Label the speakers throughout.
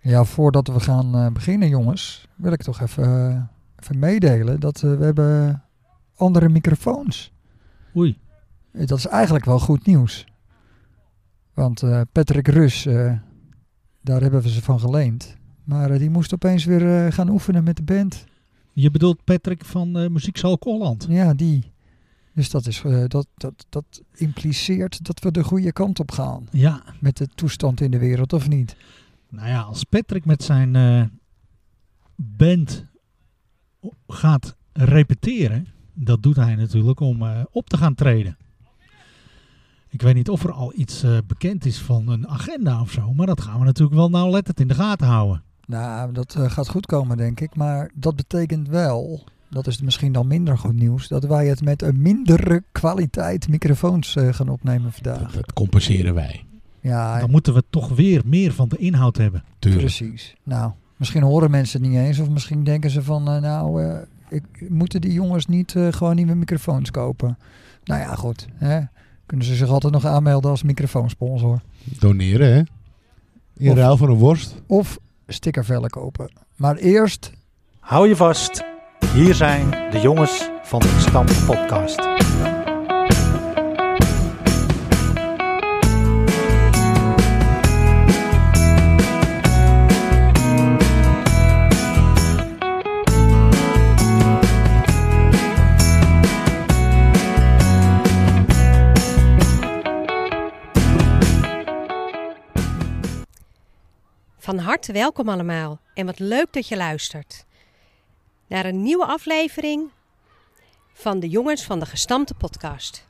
Speaker 1: Ja, voordat we gaan eh, beginnen, jongens, wil ik toch even, eh, even meedelen dat eh, we hebben andere microfoons.
Speaker 2: Oei.
Speaker 1: Eh, Dat is eigenlijk wel goed nieuws. Want eh, Patrick Rus, eh, daar hebben we ze van geleend. Maar eh, die moest opeens weer eh, gaan oefenen met de band.
Speaker 2: Je bedoelt Patrick van eh Muziekzaal Kolland.
Speaker 1: Ja, die. Dus dat, is, eh, dat, dat, dat impliceert dat we de goede kant op gaan.
Speaker 2: Ja,
Speaker 1: Met de toestand in de wereld, of niet?
Speaker 2: nou ja, als Patrick met zijn eh, band o- gaat repeteren, dat doet hij natuurlijk om eh, op te gaan treden. Ik weet niet of er al iets eh, bekend is van een agenda of zo, maar dat gaan we natuurlijk wel nauwlettend in de gaten houden.
Speaker 1: Nou, dat eh, gaat goed komen, denk ik. Maar dat betekent wel, dat is misschien dan minder goed nieuws, dat wij het met een mindere kwaliteit microfoons eh, gaan opnemen vandaag.
Speaker 3: Dat compenseren wij.
Speaker 1: Ja,
Speaker 2: Dan moeten we toch weer meer van de inhoud hebben.
Speaker 3: Tuurlijk.
Speaker 1: precies. Nou, misschien horen mensen het niet eens, of misschien denken ze van, eh, nou, eh, ik, moeten die jongens niet eh, gewoon nieuwe microfoons kopen? Nou ja, goed. Hè? Kunnen ze zich altijd nog aanmelden als microfoonsponsor?
Speaker 3: Doneren, hè? In
Speaker 1: Of-
Speaker 3: ruil voor een worst.
Speaker 1: Of stickervellen kopen. Maar eerst
Speaker 4: Hou je vast. Hier zijn de jongens van de Stam Podcast.
Speaker 5: Van harte welkom allemaal en wat leuk dat je luistert naar een nieuwe aflevering van de Jongens van de Gestampte Podcast.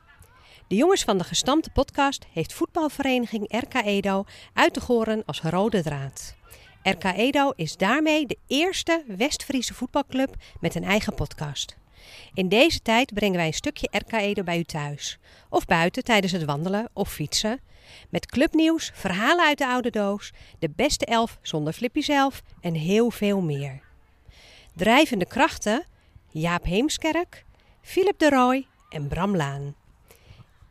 Speaker 5: De Jongens van de Gestampte Podcast heeft voetbalvereniging RK Edo uit te goren als rode draad. RK Edo is daarmee de eerste West-Friese voetbalclub met een eigen podcast. In deze tijd brengen wij een stukje RK Edo bij u thuis of buiten tijdens het wandelen of fietsen. Met clubnieuws, verhalen uit de oude doos, de beste elf zonder Flippy zelf en heel veel meer. Drijvende krachten Jaap Heemskerk, Philip de Rooij en Bram Laan.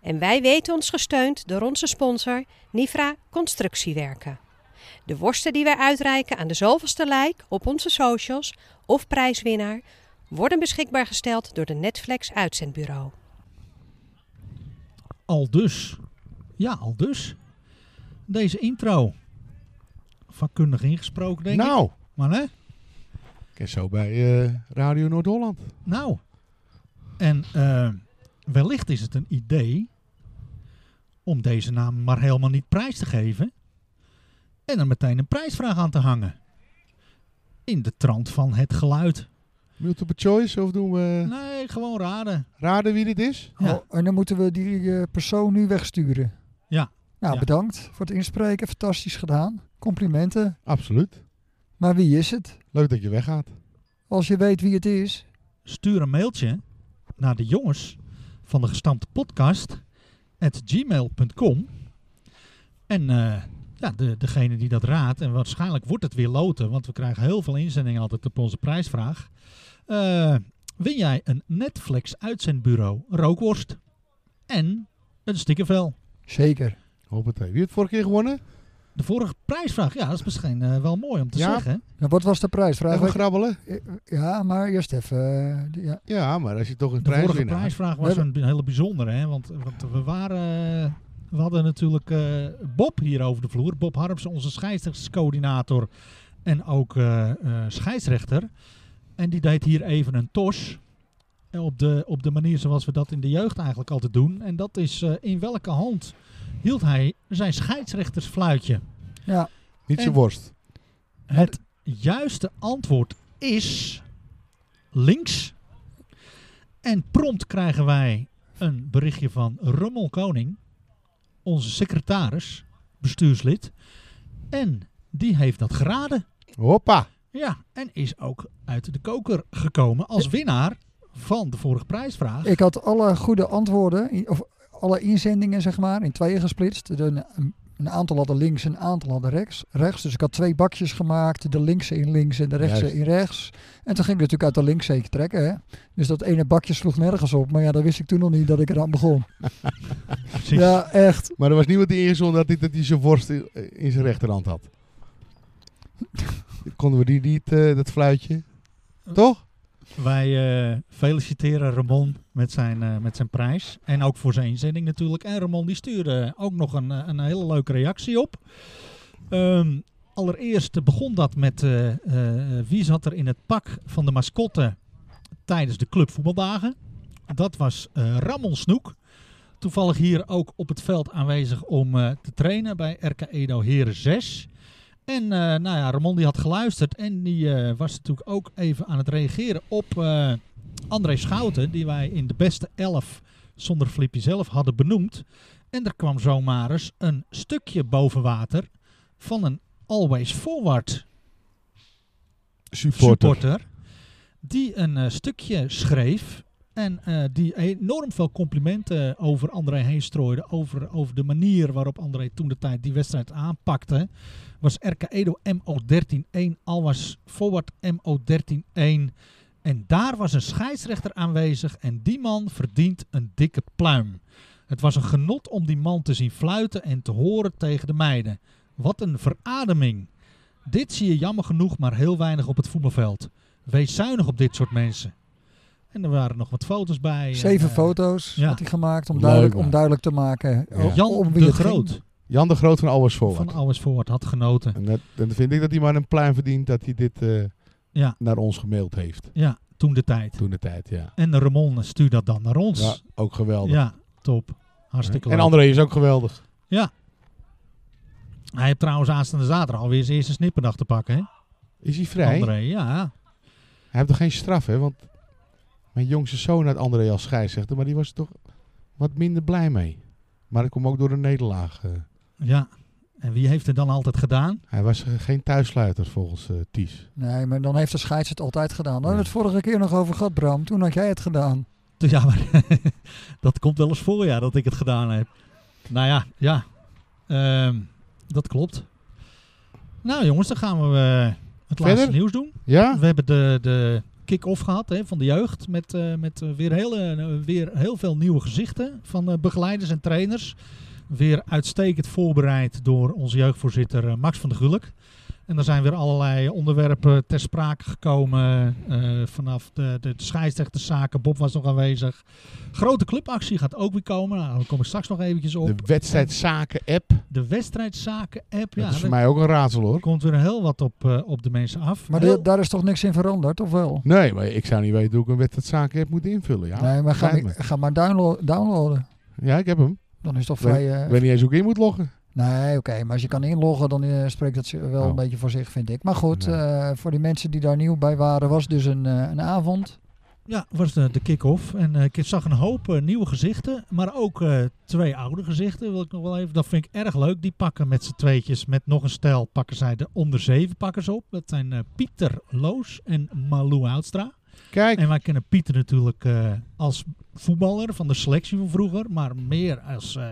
Speaker 5: En wij weten ons gesteund door onze sponsor Nifra Constructiewerken. De worsten die wij uitreiken aan de zoveelste like op onze socials of prijswinnaar worden beschikbaar gesteld door de Netflix Uitzendbureau.
Speaker 2: Al dus. Ja, al dus. Deze intro. Vakkundig ingesproken, denk ik.
Speaker 3: Nou,
Speaker 2: Maar hè?
Speaker 3: ik is zo bij eh, Radio Noord-Holland.
Speaker 2: Nou, en eh, wellicht is het een idee om deze naam maar helemaal niet prijs te geven. En er meteen een prijsvraag aan te hangen. In de trant van het geluid.
Speaker 3: Multiple choice, of doen we...
Speaker 2: Nee, gewoon raden.
Speaker 3: Raden wie dit is?
Speaker 2: Ja.
Speaker 1: Oh, en dan moeten we die eh, persoon nu wegsturen.
Speaker 2: Ja.
Speaker 1: Nou,
Speaker 2: Ja.
Speaker 1: bedankt voor het inspreken. Fantastisch gedaan. Complimenten.
Speaker 3: Absoluut.
Speaker 1: Maar wie is het?
Speaker 3: Leuk dat je weggaat.
Speaker 1: Als je weet wie het is.
Speaker 2: Stuur een mailtje naar de jongens van de gestampte podcast at gmail.com. En eh, ja, de, degene die dat raadt, en waarschijnlijk wordt het weer loten, want we krijgen heel veel inzendingen altijd op onze prijsvraag. Eh, win jij een Netflix uitzendbureau rookworst en een stickervel?
Speaker 1: Zeker.
Speaker 3: Hoppatee. Wie heeft vorige keer gewonnen?
Speaker 2: De vorige prijsvraag, ja, dat is misschien eh, wel mooi om te
Speaker 3: Ja.
Speaker 2: zeggen.
Speaker 1: Nou, wat was de prijs? Vraag
Speaker 3: Even
Speaker 1: ik-
Speaker 3: grabbelen.
Speaker 1: Ja, maar eerst even. eh, de- ja.
Speaker 3: Ja, maar als je toch een
Speaker 2: De
Speaker 3: prijs
Speaker 2: vorige
Speaker 3: wint.
Speaker 2: prijsvraag
Speaker 1: We
Speaker 2: was een hele bijzondere, hè? Want, want we waren. eh, we hadden natuurlijk eh, Bob hier over de vloer. Bob Harms, onze scheidsrechtscoördinator en ook eh, eh, scheidsrechter. En die deed hier even een tos. eh, Op de, op de manier zoals we dat in de jeugd eigenlijk altijd doen. En dat is eh, in welke hand hield hij zijn scheidsrechtersfluitje?
Speaker 1: ja.
Speaker 3: Niet zijn
Speaker 2: En-
Speaker 3: worst.
Speaker 2: Het juiste antwoord is links. En prompt krijgen wij een berichtje van Rummel Koning, onze secretaris, bestuurslid. En die heeft dat geraden.
Speaker 3: Hoppa.
Speaker 2: Ja, en is ook uit de koker gekomen als winnaar van de vorige prijsvraag.
Speaker 1: Ik had alle goede antwoorden, i- of alle inzendingen zeg maar, in tweeën gesplitst. De- Een, een aantal hadden links en een aantal hadden rechts, rechts. Dus ik had twee bakjes gemaakt, de linkse in links en de rechtse
Speaker 3: Juist.
Speaker 1: in rechts. En toen ging ik natuurlijk uit de linkse eentje trekken. Hè? Dus dat ene bakje sloeg nergens op. Maar ja, dat wist ik toen nog niet dat ik eraan begon.
Speaker 2: Precies.
Speaker 1: Ja, echt.
Speaker 3: Maar er was niemand die ingezonden had dit- dat hij zijn worst in, in zijn rechterhand had. Konden we die niet, eh, dat fluitje? Toch?
Speaker 2: Wij eh, feliciteren Ramon met zijn, eh, met zijn prijs. En ook voor zijn inzending natuurlijk. En Ramon die stuurde ook nog een, eh, een hele leuke reactie op. Ehm, allereerst begon dat met eh, eh, wie zat er in het pak van de mascotte tijdens de clubvoetbaldagen. Dat was eh, Ramon Snoek. Toevallig hier ook op het veld aanwezig om eh, te trainen bij RK Edo Heren 6. En eh, nou ja, Ramon die had geluisterd en die eh, was natuurlijk ook even aan het reageren op eh, André Schouten, die wij in de beste elf zonder Flippy zelf hadden benoemd. En er kwam zomaar eens een stukje boven water van een Always Forward
Speaker 3: Supporter.
Speaker 2: supporter, die een eh, stukje schreef en eh, die enorm veel complimenten over André heen strooide, over, over de manier waarop André toen de tijd die wedstrijd aanpakte was RK Edo MO13-1, Alwas Forward MO13-1. En daar was een scheidsrechter aanwezig en die man verdient een dikke pluim. Het was een genot om die man te zien fluiten en te horen tegen de meiden. Wat een verademing. Dit zie je jammer genoeg maar heel weinig op het voetbalveld. Wees zuinig op dit soort mensen. En er waren nog wat foto's bij.
Speaker 1: Zeven
Speaker 2: En, eh,
Speaker 1: foto's
Speaker 2: ja.
Speaker 1: had hij gemaakt om
Speaker 3: Leuk,
Speaker 1: duidelijk,
Speaker 3: man.
Speaker 1: om duidelijk te maken
Speaker 3: Ja.
Speaker 1: eh, om
Speaker 2: Jan
Speaker 1: wie
Speaker 2: de
Speaker 1: het ging.
Speaker 2: Groot
Speaker 3: Jan de Groot van Always Forward.
Speaker 2: van Alwas Forward had genoten.
Speaker 3: En dat, dan vind ik dat hij maar een pluim verdient dat hij dit eh,
Speaker 2: Ja.
Speaker 3: naar ons gemaild heeft.
Speaker 2: Ja, toen de tijd.
Speaker 3: Toen de tijd, ja.
Speaker 2: En Ramon stuurde dat dan naar ons.
Speaker 3: ja ook geweldig.
Speaker 2: Dus- Ja, top. Hartstikke leuk.
Speaker 3: en André is ook geweldig.
Speaker 2: Hij heeft trouwens aanstaande zaterdag alweer zijn eerste snipperdag te pakken. Hè?
Speaker 3: Is hij vrij?
Speaker 2: André, ja.
Speaker 3: Hij heeft toch geen straf, hè? Want mijn jongste zoon had André als scheidsrechter, maar die was er toch wat minder blij mee. Maar dat komt ook door een nederlaag. eh.
Speaker 2: ja. En wie heeft het dan altijd gedaan?
Speaker 3: hij was eh, geen thuissluiter volgens eh, Ties.
Speaker 1: Nee, maar dan heeft de scheids het altijd gedaan. Daar
Speaker 3: Ja.
Speaker 1: hebben we het vorige keer nog over gehad, Bram. Toen had jij het gedaan.
Speaker 2: Dus ja, maar dat komt wel eens voor, ja, dat ik het gedaan heb. Nou ja, ja. Ehm, dat klopt. Nou jongens, dan gaan we eh, het
Speaker 3: Verder?
Speaker 2: laatste nieuws doen.
Speaker 3: Ja?
Speaker 2: We hebben de, de kick-off gehad hè, van de jeugd. Met, eh, met eh, weer, heel, eh, weer heel veel nieuwe gezichten van eh, begeleiders en trainers. Weer uitstekend voorbereid door onze jeugdvoorzitter eh, Max van der Gulik. En er zijn weer allerlei onderwerpen ter sprake gekomen. eh, vanaf de, de scheidsrechterszaken. Bob was nog aanwezig. Grote clubactie gaat ook weer komen. Nou, daar kom ik straks nog eventjes op.
Speaker 3: De
Speaker 2: De,
Speaker 3: wedstrijdzaken-app.
Speaker 2: wedstrijdzaken-app.
Speaker 3: dat
Speaker 2: Ja,
Speaker 3: is voor
Speaker 2: daar
Speaker 3: mij ook een raadsel, hoor.
Speaker 2: komt weer heel wat op, eh, op de mensen af.
Speaker 1: Maar
Speaker 2: Heel-
Speaker 1: de- daar is toch niks in veranderd, of wel?
Speaker 3: Nee, maar ik zou niet weten hoe ik een wedstrijdzaken-app moet invullen. Ja,
Speaker 1: nee, maar ga,
Speaker 3: fijn me.
Speaker 1: ga maar downlo- downloaden.
Speaker 3: ja ik heb hem.
Speaker 1: Dan is het toch
Speaker 3: Nee,
Speaker 1: vrij... eh,
Speaker 3: Ik weet niet eens hoe ik in moet loggen.
Speaker 1: Nee, oké. maar als je kan inloggen, dan eh, spreekt dat ze- wel
Speaker 3: Oh.
Speaker 1: een beetje voor zich, vind ik. Maar goed,
Speaker 3: Ja.
Speaker 1: eh, voor die mensen die daar nieuw bij waren, was dus een, eh, een avond.
Speaker 2: Ja, was de, de kick-off. En eh, ik zag een hoop eh, nieuwe gezichten, maar ook eh, twee oude gezichten. Wil ik nog wel even, dat vind ik erg leuk. Die pakken met z'n tweetjes, met nog een stel, pakken zij de onder zeven pakkers op. Dat zijn eh, Pieter Loos en Malou Oudstra.
Speaker 3: Kijk,
Speaker 2: En wij kennen Pieter natuurlijk eh, als voetballer van de selectie van vroeger, maar meer als eh,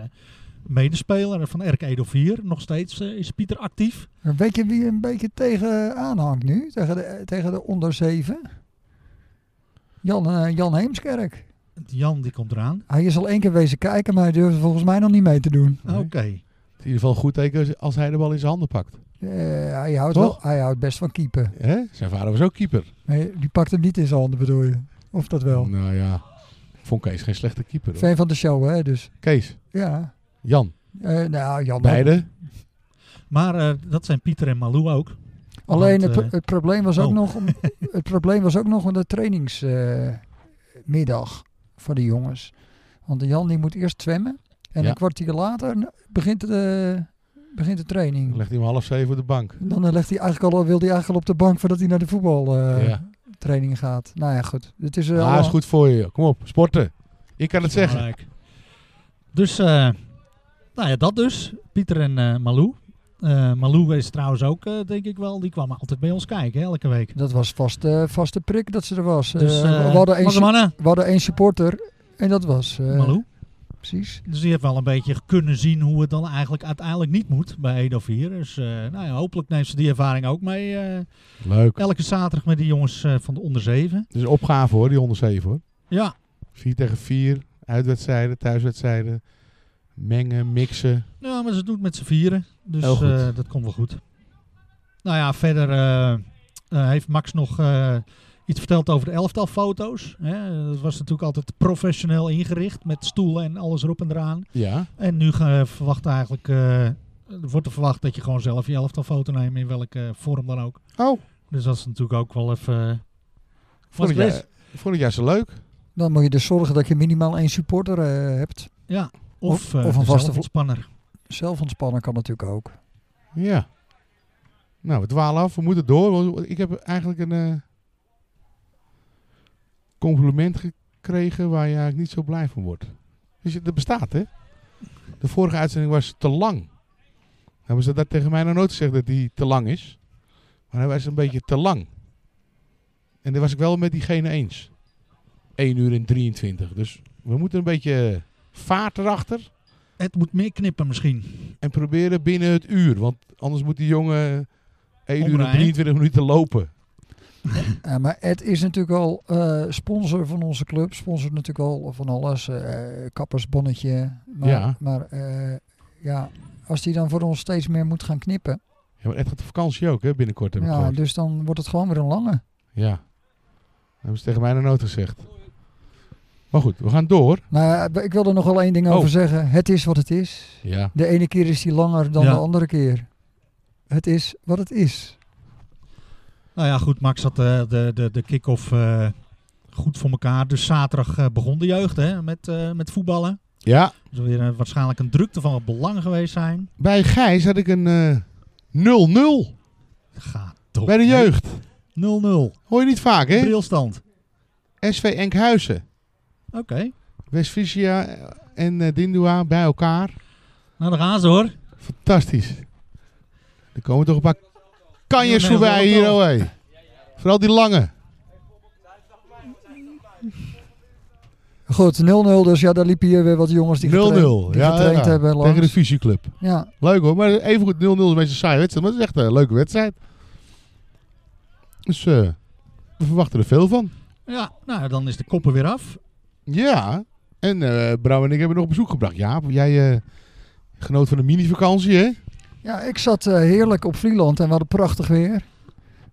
Speaker 2: medespeler van RK Edo 4. Nog steeds eh, is Pieter actief.
Speaker 1: Maar Weet je wie een beetje tegenaan hangt nu? Tegen de, eh, tegen de onder 7? Jan, eh, Jan Heemskerk.
Speaker 2: Jan die komt eraan.
Speaker 1: Hij is al één keer wezen kijken, maar hij durfde volgens mij nog niet mee te doen.
Speaker 3: Nee.
Speaker 2: Oké.
Speaker 3: het is in ieder geval een goed teken als- als hij de bal in zijn handen pakt.
Speaker 1: Eh, hij, houdt wel,
Speaker 3: Toch?
Speaker 1: hij houdt best van keeper.
Speaker 3: Hè? Zijn vader was ook keeper.
Speaker 1: Nee, die pakt hem niet in zijn handen, bedoel je? Of dat wel?
Speaker 3: Nou ja, ik vond Kees geen slechte keeper. hoor.
Speaker 1: Fan van de show, hè? Dus
Speaker 3: Kees,
Speaker 1: ja.
Speaker 3: Jan,
Speaker 1: Eh, nou, Jan.
Speaker 3: beide.
Speaker 2: Maar eh, dat zijn Pieter en Malou ook.
Speaker 1: Alleen
Speaker 2: Want,
Speaker 1: het, pro-
Speaker 2: eh,
Speaker 1: het probleem was ook
Speaker 2: oh.
Speaker 1: nog om- het probleem was ook nog om de trainingsmiddag voor de jongens. Want de Jan die moet eerst zwemmen en
Speaker 3: Ja.
Speaker 1: een kwartier later begint de, begint de training.
Speaker 3: Legt hij om half zeven op de bank.
Speaker 1: Dan eh, legt hij eigenlijk al, wil hij eigenlijk al op de bank voordat hij naar de voetbaltraining
Speaker 3: ja.
Speaker 1: training gaat. Nou ja, goed. Het is, eh,
Speaker 3: Ah,
Speaker 1: allemaal-
Speaker 3: is goed voor je. joh. Kom op, sporten. Ik kan het zeggen.
Speaker 2: Belangrijk. Dus, eh, nou ja, dat dus. Pieter en eh, Malou. Eh, Malou is trouwens ook, eh, denk ik wel, die kwam altijd bij ons kijken, hè, elke week.
Speaker 1: Dat was vast, eh, vaste prik dat ze er was.
Speaker 2: Dus,
Speaker 1: Eh,
Speaker 2: eh,
Speaker 1: we, hadden één,
Speaker 2: mannen,
Speaker 1: su-
Speaker 2: mannen,
Speaker 1: we hadden één supporter en dat was eh,
Speaker 2: Malou.
Speaker 1: precies.
Speaker 2: Dus die heeft wel een beetje kunnen zien hoe het dan eigenlijk uiteindelijk niet moet bij Edo 4. Dus eh, nou ja, hopelijk neemt ze die ervaring ook mee. eh,
Speaker 3: Leuk.
Speaker 2: elke zaterdag met die jongens eh, van de onder 7.
Speaker 3: Dus opgave hoor, die onder zeven hoor.
Speaker 2: Ja,
Speaker 3: Vier tegen vier, uitwedstrijden, thuiswedstrijden. Mengen, mixen.
Speaker 2: ja, maar ze doet met z'n vieren. Dus
Speaker 3: Heel goed.
Speaker 2: eh, dat komt wel goed. Nou ja, verder eh, eh, heeft Max nog eh, iets verteld over de elftal foto's. Hè? Dat was natuurlijk altijd professioneel ingericht met stoelen en alles erop en eraan.
Speaker 3: Ja,
Speaker 2: En nu ge- verwacht eigenlijk, eh, er wordt er verwacht dat je gewoon zelf je elftal foto neemt in welke eh, vorm dan ook.
Speaker 3: Oh.
Speaker 2: Dus dat is natuurlijk ook wel even... eh,
Speaker 3: vond
Speaker 2: was
Speaker 3: ik, eh,
Speaker 2: best.
Speaker 3: juist, vond ik juist zo leuk.
Speaker 1: Dan moet je dus zorgen dat je minimaal één supporter eh, hebt.
Speaker 2: Of,
Speaker 1: of
Speaker 2: eh,
Speaker 1: een
Speaker 2: de
Speaker 1: vaste vo-
Speaker 2: zelfontspanner.
Speaker 1: Zelf ontspannen kan natuurlijk ook.
Speaker 3: Ja. Nou, we dwalen af. We moeten door. want Ik heb eigenlijk een eh, compliment gekregen waar je eigenlijk niet zo blij van wordt. Dus je- dat bestaat, hè? De vorige uitzending was te lang. Nou, hebben ze dat tegen mij nog nooit gezegd dat die te lang is. Maar hij was een beetje te lang. En daar was ik wel met diegene eens. 1 uur en 23. Dus we moeten een beetje vaart erachter.
Speaker 2: Het moet meer knippen misschien.
Speaker 3: En proberen binnen het uur. Want anders moet die jongen 1 uur en
Speaker 2: Omrijden.
Speaker 3: 23 minuten lopen.
Speaker 1: Ja, Eh, maar Ed is natuurlijk al eh, sponsor van onze club. Sponsort natuurlijk al van alles. eh, kappersbonnetje. Maar,
Speaker 3: Ja.
Speaker 1: maar eh, ja, als hij dan voor ons steeds meer moet gaan knippen.
Speaker 3: Ja, maar Ed gaat op vakantie ook, hè, binnenkort heb ik
Speaker 1: Ja,
Speaker 3: gehoord.
Speaker 1: dus dan wordt het gewoon weer een lange.
Speaker 3: Ja. Dat hebben ze tegen mij nog nooit gezegd. Maar goed, we gaan door.
Speaker 1: Nou, ja, ik wil er nog wel één ding
Speaker 3: Oh.
Speaker 1: over zeggen. Het is wat het is.
Speaker 3: Ja.
Speaker 1: De ene keer is hij langer dan
Speaker 2: Ja.
Speaker 1: de andere keer. Het is wat het is.
Speaker 2: Nou ja, goed, Max had eh, de, de, de kick-off eh, goed voor elkaar. Dus zaterdag eh, begon de jeugd hè, met, eh, met voetballen.
Speaker 3: Ja,
Speaker 2: Er zal weer eh, waarschijnlijk een drukte van wat belang geweest zijn.
Speaker 3: bij Gijs had ik een eh, 0-0
Speaker 2: Gaat toch.
Speaker 3: bij de jeugd.
Speaker 2: 0-0.
Speaker 3: Hoor je niet vaak, hè?
Speaker 2: Brilstand.
Speaker 3: SV Enkhuizen,
Speaker 2: Oké.
Speaker 3: West-Frisia en eh, Dindua bij elkaar.
Speaker 2: Nou, daar gaan ze hoor.
Speaker 3: Fantastisch. Er komen toch een paar kanjers
Speaker 2: Ja, nee,
Speaker 3: voorbij
Speaker 2: wel,
Speaker 3: hier,
Speaker 2: wel.
Speaker 3: oh, hé. Vooral die lange.
Speaker 1: Goed, 0-0 dus. Ja, daar liepen hier weer wat jongens
Speaker 3: 0-0.
Speaker 1: die getraind, die getraind hebben langs.
Speaker 3: Tegen de fusieclub.
Speaker 1: Ja,
Speaker 3: Leuk hoor, maar even goed 0-0 is een beetje een saaie wedstrijd. Maar het is echt een leuke wedstrijd. Dus eh, we verwachten er veel van.
Speaker 2: Ja, nou dan is de koppen weer af.
Speaker 3: Ja, en eh Brouw en ik hebben nog bezoek gebracht. Jaap, jij eh genoot van een mini-vakantie, hè?
Speaker 1: Ja, ik zat eh, heerlijk op Vlieland en we hadden prachtig weer.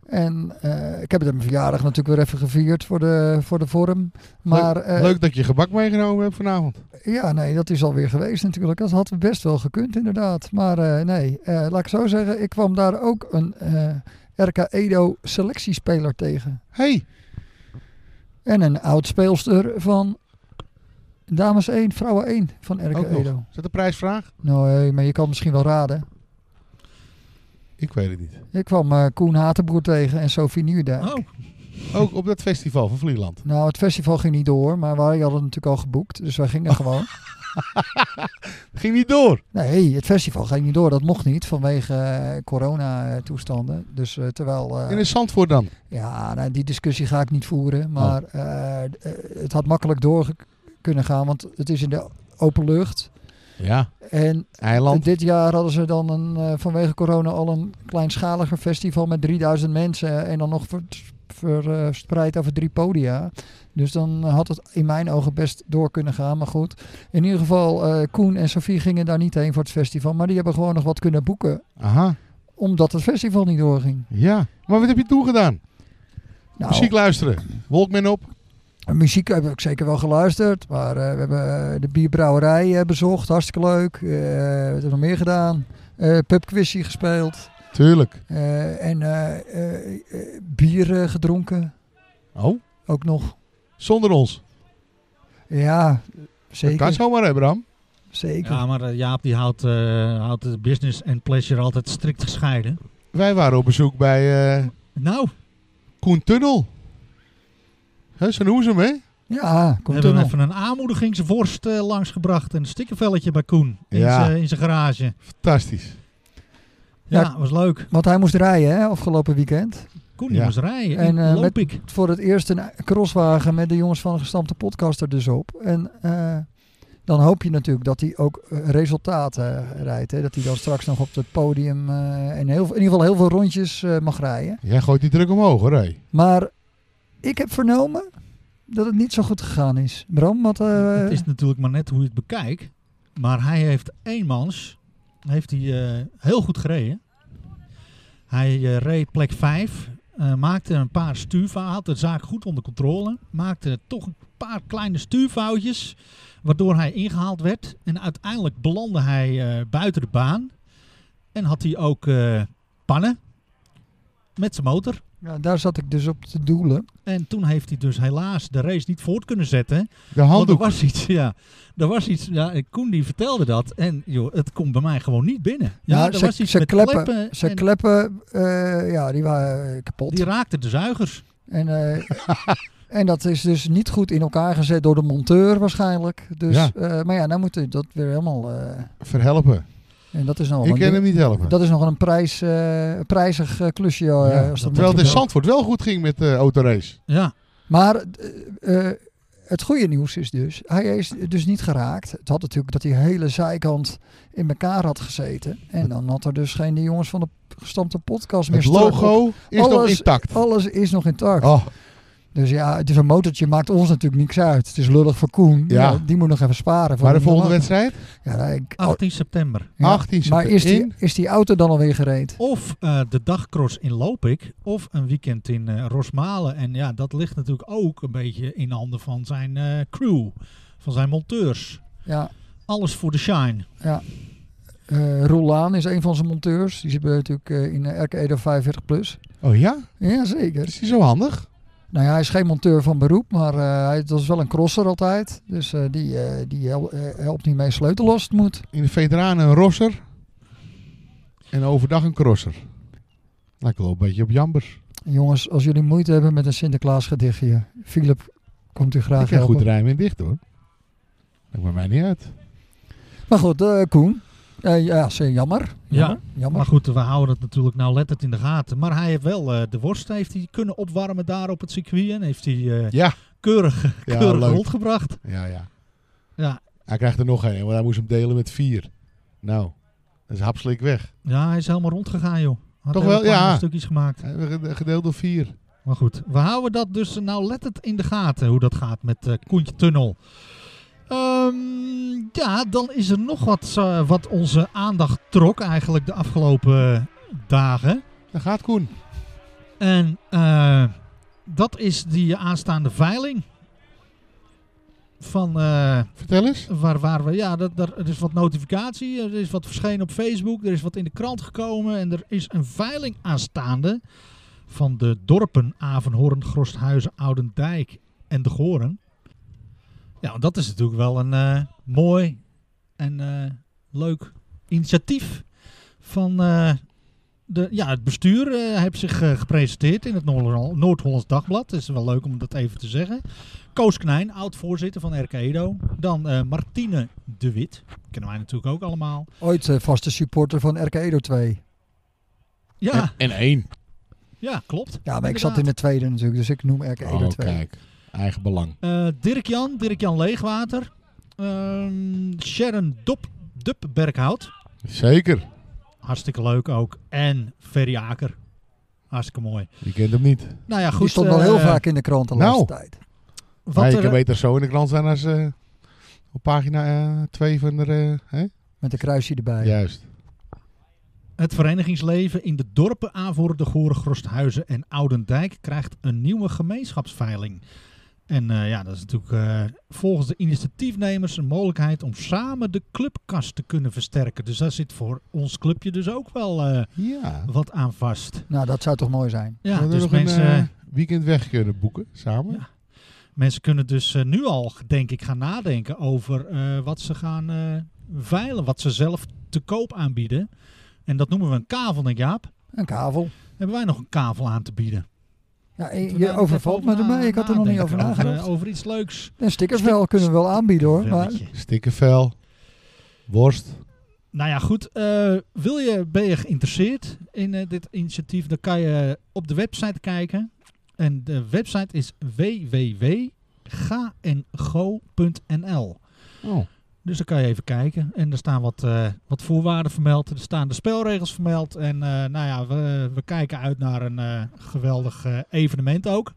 Speaker 1: En eh, ik heb het op mijn verjaardag natuurlijk weer even gevierd voor de, voor de vorm. Maar eh,
Speaker 3: Leuk dat je gebak meegenomen hebt vanavond.
Speaker 1: ja, nee, dat is alweer geweest natuurlijk. Dat had best wel gekund inderdaad. Maar eh, nee, eh, laat ik zo zeggen, ik kwam daar ook een eh, RK Edo selectiespeler tegen.
Speaker 3: hey,
Speaker 1: En een oud speelster van dames 1, vrouwen 1 van RK
Speaker 3: Ook nog.
Speaker 1: Edo.
Speaker 3: is dat een prijsvraag?
Speaker 1: Nee, maar je kan misschien wel raden.
Speaker 3: Ik weet het niet.
Speaker 1: Ik kwam eh, Koen Hatenboer tegen en Sophie Nieuwdijk.
Speaker 2: Oh,
Speaker 3: Ook op dat festival van Vlieland.
Speaker 1: Nou, het festival ging niet door, maar wij hadden het natuurlijk al geboekt. Dus wij gingen gewoon.
Speaker 3: Ging niet door.
Speaker 1: Nee, het festival ging niet door. Dat mocht niet vanwege eh, corona-toestanden. Dus eh, terwijl... eh,
Speaker 3: In een Zandvoort dan.
Speaker 1: Ja, nou, die discussie ga ik niet voeren. Maar eh, d- eh, het had makkelijk door ge- kunnen gaan, want het is in de open lucht.
Speaker 3: Ja,
Speaker 1: En
Speaker 3: eiland.
Speaker 1: dit jaar hadden ze dan een, eh, vanwege corona al een kleinschaliger festival met 3000 mensen. En dan nog vers- verspreid over drie podia. Dus dan had het in mijn ogen best door kunnen gaan. Maar goed, in ieder geval, eh, Koen en Sofie gingen daar niet heen voor het festival. Maar die hebben gewoon nog wat kunnen boeken,
Speaker 3: Aha,
Speaker 1: omdat het festival niet doorging.
Speaker 3: ja. Maar wat heb je toen gedaan?
Speaker 1: Nou,
Speaker 3: Muziek luisteren. Walkman op.
Speaker 1: Muziek heb ik zeker wel geluisterd, maar eh, we hebben eh, de bierbrouwerij eh, bezocht, hartstikke leuk. Eh, wat hebben we nog meer gedaan? Eh Pubquizzie gespeeld
Speaker 3: Tuurlijk.
Speaker 1: Eh, en eh, eh, eh, bier eh, gedronken,
Speaker 3: Oh,
Speaker 1: ook nog.
Speaker 3: zonder ons.
Speaker 1: Ja, zeker.
Speaker 3: Dat kan zomaar, hè, Bram?
Speaker 1: zeker.
Speaker 2: ja, maar eh, Jaap die houdt, eh, houdt de business en pleasure altijd strikt gescheiden.
Speaker 3: Wij waren op bezoek bij eh
Speaker 2: Nou,
Speaker 3: Koen Tunnel. Hè, zo noemen ze hem, hè?
Speaker 1: Ja,
Speaker 2: we
Speaker 1: komt er
Speaker 2: hebben
Speaker 1: nog.
Speaker 2: even een aanmoedigingsworst eh, langsgebracht. En een stikkervelletje bij Koen. In
Speaker 3: Ja.
Speaker 2: zijn- eh, in zijn garage.
Speaker 3: Fantastisch.
Speaker 2: Ja,
Speaker 1: Ja.
Speaker 2: was leuk.
Speaker 1: Want hij moest rijden hè, afgelopen weekend.
Speaker 2: Koen die
Speaker 3: Ja.
Speaker 2: moest rijden.
Speaker 1: En,
Speaker 2: En,
Speaker 1: eh,
Speaker 2: loop
Speaker 1: met-
Speaker 2: ik.
Speaker 1: Voor het eerst een crosswagen met de jongens van de gestampte podcaster dus op. En eh, dan hoop je natuurlijk dat hij ook eh, resultaten eh, rijdt. Hè? Dat hij dan straks nog op het podium eh, en heel, in ieder geval heel veel rondjes eh, mag rijden.
Speaker 3: Jij gooit die druk omhoog, hoor, hé.
Speaker 1: Maar ik heb vernomen dat het niet zo goed gegaan is. Bram, wat... eh,
Speaker 2: Het is natuurlijk maar net hoe je het bekijkt. Maar hij heeft eenmans heeft hij, eh, heel goed gereden. Hij eh, reed plek 5, maakte een paar stuurfouten, had de zaak goed onder controle, maakte toch een paar kleine stuurfoutjes, waardoor hij ingehaald werd. En uiteindelijk belandde hij eh, buiten de baan en had hij ook eh, pannen met zijn motor.
Speaker 1: Ja, daar zat ik dus op te doelen.
Speaker 2: En toen heeft hij dus helaas de race niet voort kunnen zetten.
Speaker 3: De
Speaker 2: Want er
Speaker 3: handdoek.
Speaker 2: was iets, ja. Er was iets, ja, Koen die vertelde dat. En joh, het komt bij mij gewoon niet binnen. Ja,
Speaker 1: Nou,
Speaker 2: er
Speaker 1: ze-
Speaker 2: was iets
Speaker 1: ze
Speaker 2: met
Speaker 1: kleppen- Zijn
Speaker 2: en
Speaker 1: kleppen, eh, ja, die waren eh, kapot.
Speaker 2: die raakte de zuigers.
Speaker 1: En, eh, en dat is dus niet goed in elkaar gezet door de monteur waarschijnlijk. Dus,
Speaker 3: Ja.
Speaker 1: eh, maar ja, nou moet hij dat weer helemaal... eh,
Speaker 3: Verhelpen.
Speaker 1: en dat is nog
Speaker 3: Ik
Speaker 1: een
Speaker 3: kan
Speaker 1: ding-
Speaker 3: hem niet helpen.
Speaker 1: Dat is nog een prijs, eh, een prijzig eh, klusje. eh,
Speaker 2: Ja,
Speaker 1: als
Speaker 2: dat
Speaker 1: dat
Speaker 3: Terwijl het in
Speaker 1: moet.
Speaker 3: Zandvoort wel dus- goed ging met de autorace.
Speaker 2: Ja,
Speaker 1: Maar eh, eh, het goede nieuws is dus, hij is dus niet geraakt. Het had natuurlijk dat die hele zijkant in elkaar had gezeten. En dan had er dus geen de jongens van de gestampte podcast meer.
Speaker 3: Het
Speaker 1: stuk op.
Speaker 3: logo is nog
Speaker 1: Alles-
Speaker 3: intact.
Speaker 1: Alles is nog intact.
Speaker 3: Oh,
Speaker 1: Dus ja, het is een motortje, maakt ons natuurlijk niks uit. Het is lullig voor Koen.
Speaker 3: Ja.
Speaker 1: Ja, die moet nog even sparen. voor
Speaker 3: maar de
Speaker 1: die
Speaker 3: volgende
Speaker 1: lachen.
Speaker 3: wedstrijd?
Speaker 1: Ja, ik, oh,
Speaker 2: 18 september.
Speaker 1: ja.
Speaker 3: 18
Speaker 1: Maar is die,
Speaker 3: in?
Speaker 1: is die auto dan alweer gereed?
Speaker 2: Of eh, de dagcross in Lopik. Of een weekend in eh, Rosmalen. En ja, dat ligt natuurlijk ook een beetje in handen van zijn eh, crew. Van zijn monteurs.
Speaker 1: Ja.
Speaker 2: Alles voor de shine.
Speaker 1: Eh Roel Laan is een van zijn monteurs. Die zit bij- natuurlijk eh, in eh, RK Edo 45 plus.
Speaker 3: Oh ja?
Speaker 1: Ja, zeker.
Speaker 3: Is die zo handig?
Speaker 1: Nou ja, hij is geen monteur van beroep, maar eh, hij was wel een crosser altijd. Dus eh, die, eh, die hel- eh, helpt niet mee sleutelen als het moet.
Speaker 3: In de veteranen een rosser. En overdag een crosser. Lijkt wel een beetje op Jambers.
Speaker 1: En jongens, als jullie moeite hebben met een Sinterklaas gedichtje, Philip komt u
Speaker 3: Ik
Speaker 1: graag
Speaker 3: kan goed
Speaker 1: helpen.
Speaker 3: rijmen en dicht hoor. Maakt bij mij niet uit.
Speaker 1: maar goed, eh, Koen. Eh, ja, zeer jammer.
Speaker 2: Ja.
Speaker 1: Jammer, jammer.
Speaker 2: Maar goed, we houden het natuurlijk nauwlettend in de gaten. Maar hij heeft wel eh, de worst heeft hij kunnen opwarmen daar op het circuit. En heeft hij eh,
Speaker 3: Ja,
Speaker 2: keurig,
Speaker 3: ja
Speaker 2: keurig
Speaker 3: leuk.
Speaker 2: rondgebracht.
Speaker 3: Ja, ja.
Speaker 2: Ja,
Speaker 3: Hij krijgt er nog één, want hij moest hem delen met vier. Nou, dat is hapslik weg.
Speaker 2: ja, hij is helemaal rondgegaan joh. Had
Speaker 3: Toch
Speaker 2: hele
Speaker 3: wel,
Speaker 2: kleine
Speaker 3: ja.
Speaker 2: stukjes gemaakt.
Speaker 3: Hij werd Gedeeld door vier.
Speaker 2: Maar goed, we houden dat dus nauwlettend in de gaten. Hoe dat gaat met eh Koentje Tunnel. Ehm, ja, dan is er nog wat, eh, wat onze aandacht trok eigenlijk de afgelopen dagen.
Speaker 3: Daar gaat Koen.
Speaker 2: En eh, dat is die eh, aanstaande veiling. Van eh,
Speaker 3: Vertel eens.
Speaker 2: waar, waar we. Ja, dat, daar, er is wat notificatie. Er is wat verschenen op Facebook. Er is wat in de krant gekomen. En er is een veiling aanstaande. Van de dorpen Avenhoorn, Grosthuizen, Oudendijk en De Goren. Ja, want dat is natuurlijk wel een eh, mooi en eh, leuk initiatief van eh, de, ja, het bestuur. eh heeft zich eh, gepresenteerd in het Noord- Noord-Hollands Dagblad. Het is wel leuk om dat even te zeggen. Koos Knijn, oud-voorzitter van RK Edo. Dan eh, Martine de Wit, kennen wij natuurlijk ook allemaal.
Speaker 1: Ooit eh, vaste supporter van RK Edo 2.
Speaker 2: Ja,
Speaker 3: En, en één.
Speaker 2: ja klopt.
Speaker 1: Ja, maar ik
Speaker 2: Inderdaad.
Speaker 1: zat in de tweede natuurlijk, dus ik noem RK Edo
Speaker 3: Oh,
Speaker 1: 2.
Speaker 3: kijk. Eigen belang.
Speaker 2: Eh, Dirk-Jan, Dirk-Jan Leegwater. Ehm, Sharon Dop, Dupberghout,
Speaker 3: Zeker.
Speaker 2: hartstikke leuk ook. En Ferry Aker, hartstikke mooi.
Speaker 3: Je kent hem niet.
Speaker 2: Nou ja, goed.
Speaker 1: Die stond wel
Speaker 2: eh,
Speaker 1: heel vaak in de krant de
Speaker 3: nou.
Speaker 1: laatste tijd.
Speaker 2: wat
Speaker 3: Maar je
Speaker 2: er-
Speaker 3: kan beter zo in de krant zijn als eh, op pagina 2 van de... eh, hè?
Speaker 1: Met een kruisje erbij.
Speaker 3: Juist.
Speaker 2: Het verenigingsleven in de dorpen Aanvoren, de Goren, Grosthuizen en Oudendijk krijgt een nieuwe gemeenschapsveiling. En eh, ja, dat is natuurlijk eh, volgens de initiatiefnemers een mogelijkheid om samen de clubkast te kunnen versterken. Dus daar zit voor ons clubje dus ook wel eh,
Speaker 3: Ja.
Speaker 2: wat aan vast.
Speaker 1: Nou, dat zou toch mooi zijn.
Speaker 2: Ja,
Speaker 3: Zouden we
Speaker 2: dus
Speaker 3: nog een,
Speaker 2: mensen,
Speaker 3: eh, weekend weg kunnen boeken samen.
Speaker 2: Ja. mensen kunnen dus eh, nu al, denk ik, gaan nadenken over eh, wat ze gaan eh, veilen. Wat ze zelf te koop aanbieden. En dat noemen we een kavel, denk ik, Jaap.
Speaker 1: Een kavel.
Speaker 2: Hebben wij nog een kavel aan te bieden?
Speaker 1: Ja,
Speaker 2: Moeten
Speaker 1: je
Speaker 2: we daar
Speaker 1: je
Speaker 2: nog
Speaker 1: overvalt
Speaker 2: even
Speaker 1: me
Speaker 2: over na-
Speaker 1: ermee. Ik had er nog niet over
Speaker 2: nadenken,
Speaker 1: nagedacht.
Speaker 2: Over, eh, over iets leuks.
Speaker 1: Een stickervel kunnen we wel aanbieden hoor. Maar
Speaker 2: Velletje.
Speaker 3: Stikkenvel. Worst.
Speaker 2: Nou ja, goed. eh, wil je, ben je geïnteresseerd in eh, dit initiatief? Dan kan je op de website kijken. En de website is www.gaengo.nl.
Speaker 3: Oh.
Speaker 2: Dus dan kan je even kijken. En er staan wat, eh, wat voorwaarden vermeld. Er staan de spelregels vermeld. En eh, nou ja, we, we kijken uit naar een eh, geweldig eh, evenement ook.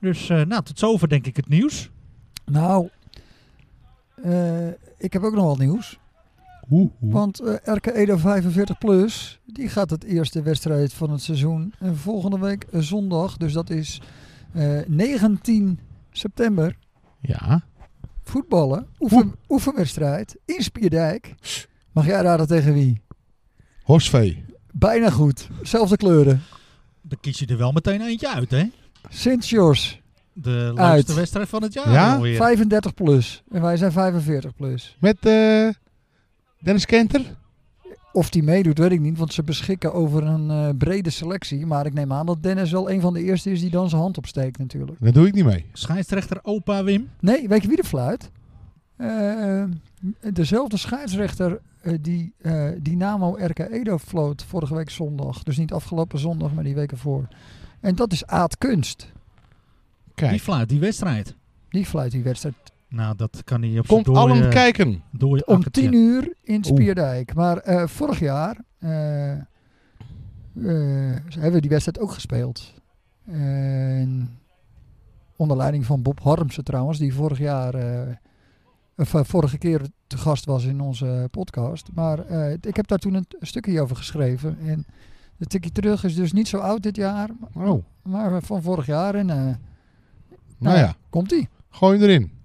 Speaker 2: Dus eh, nou, tot zover denk ik het nieuws.
Speaker 1: nou, eh, ik heb ook nog wat nieuws.
Speaker 3: Hoe, hoe.
Speaker 1: Want eh, RK Edo 45 Plus, die gaat het eerste wedstrijd van het seizoen eh, volgende week eh, zondag. Dus dat is eh, 19 september.
Speaker 3: Ja.
Speaker 1: Voetballen, oefen, oefenwedstrijd in Spierdijk. Mag jij raden tegen wie?
Speaker 3: Horsvee.
Speaker 1: Bijna goed. Zelfde kleuren.
Speaker 2: Dan kies je er wel meteen eentje uit, hè?
Speaker 1: Sint-Jors,
Speaker 2: De
Speaker 1: Uit.
Speaker 2: laatste wedstrijd van het jaar
Speaker 3: Ja?
Speaker 2: alweer.
Speaker 1: 35 plus. En wij zijn 45 plus.
Speaker 3: Met eh, Dennis Kenter.
Speaker 1: Of die meedoet, weet ik niet. Want ze beschikken over een eh, brede selectie. Maar ik neem aan dat Dennis wel een van de eerste is die dan zijn hand opsteekt natuurlijk.
Speaker 3: Daar doe ik niet mee.
Speaker 2: Scheidsrechter opa Wim.
Speaker 1: Nee, weet je wie de fluit? Eh, dezelfde scheidsrechter eh, die eh, Dynamo RK Edo floot vorige week zondag. Dus niet afgelopen zondag, maar die week ervoor. En dat is Aad Kunst.
Speaker 2: Die
Speaker 3: Kijk.
Speaker 2: fluit die wedstrijd.
Speaker 1: Die fluit die wedstrijd
Speaker 2: Nou, dat kan hij op zijn
Speaker 3: Komt allen
Speaker 2: dooie,
Speaker 3: kijken.
Speaker 2: dooie
Speaker 1: om
Speaker 2: akkertje.
Speaker 1: tien uur in
Speaker 3: Oeh.
Speaker 1: Spierdijk. Maar eh, vorig jaar eh, eh, hebben we die wedstrijd ook gespeeld. En onder leiding van Bob Harmsen trouwens, die vorig jaar, eh, of, eh, vorige keer te gast was in onze podcast. Maar eh, ik heb daar toen een t- stukje over geschreven. En de tikkie terug is dus niet zo oud dit jaar,
Speaker 3: Oh,
Speaker 1: maar van vorig jaar. En eh,
Speaker 3: nou ja.
Speaker 1: komt ie.
Speaker 3: Gooi hem erin.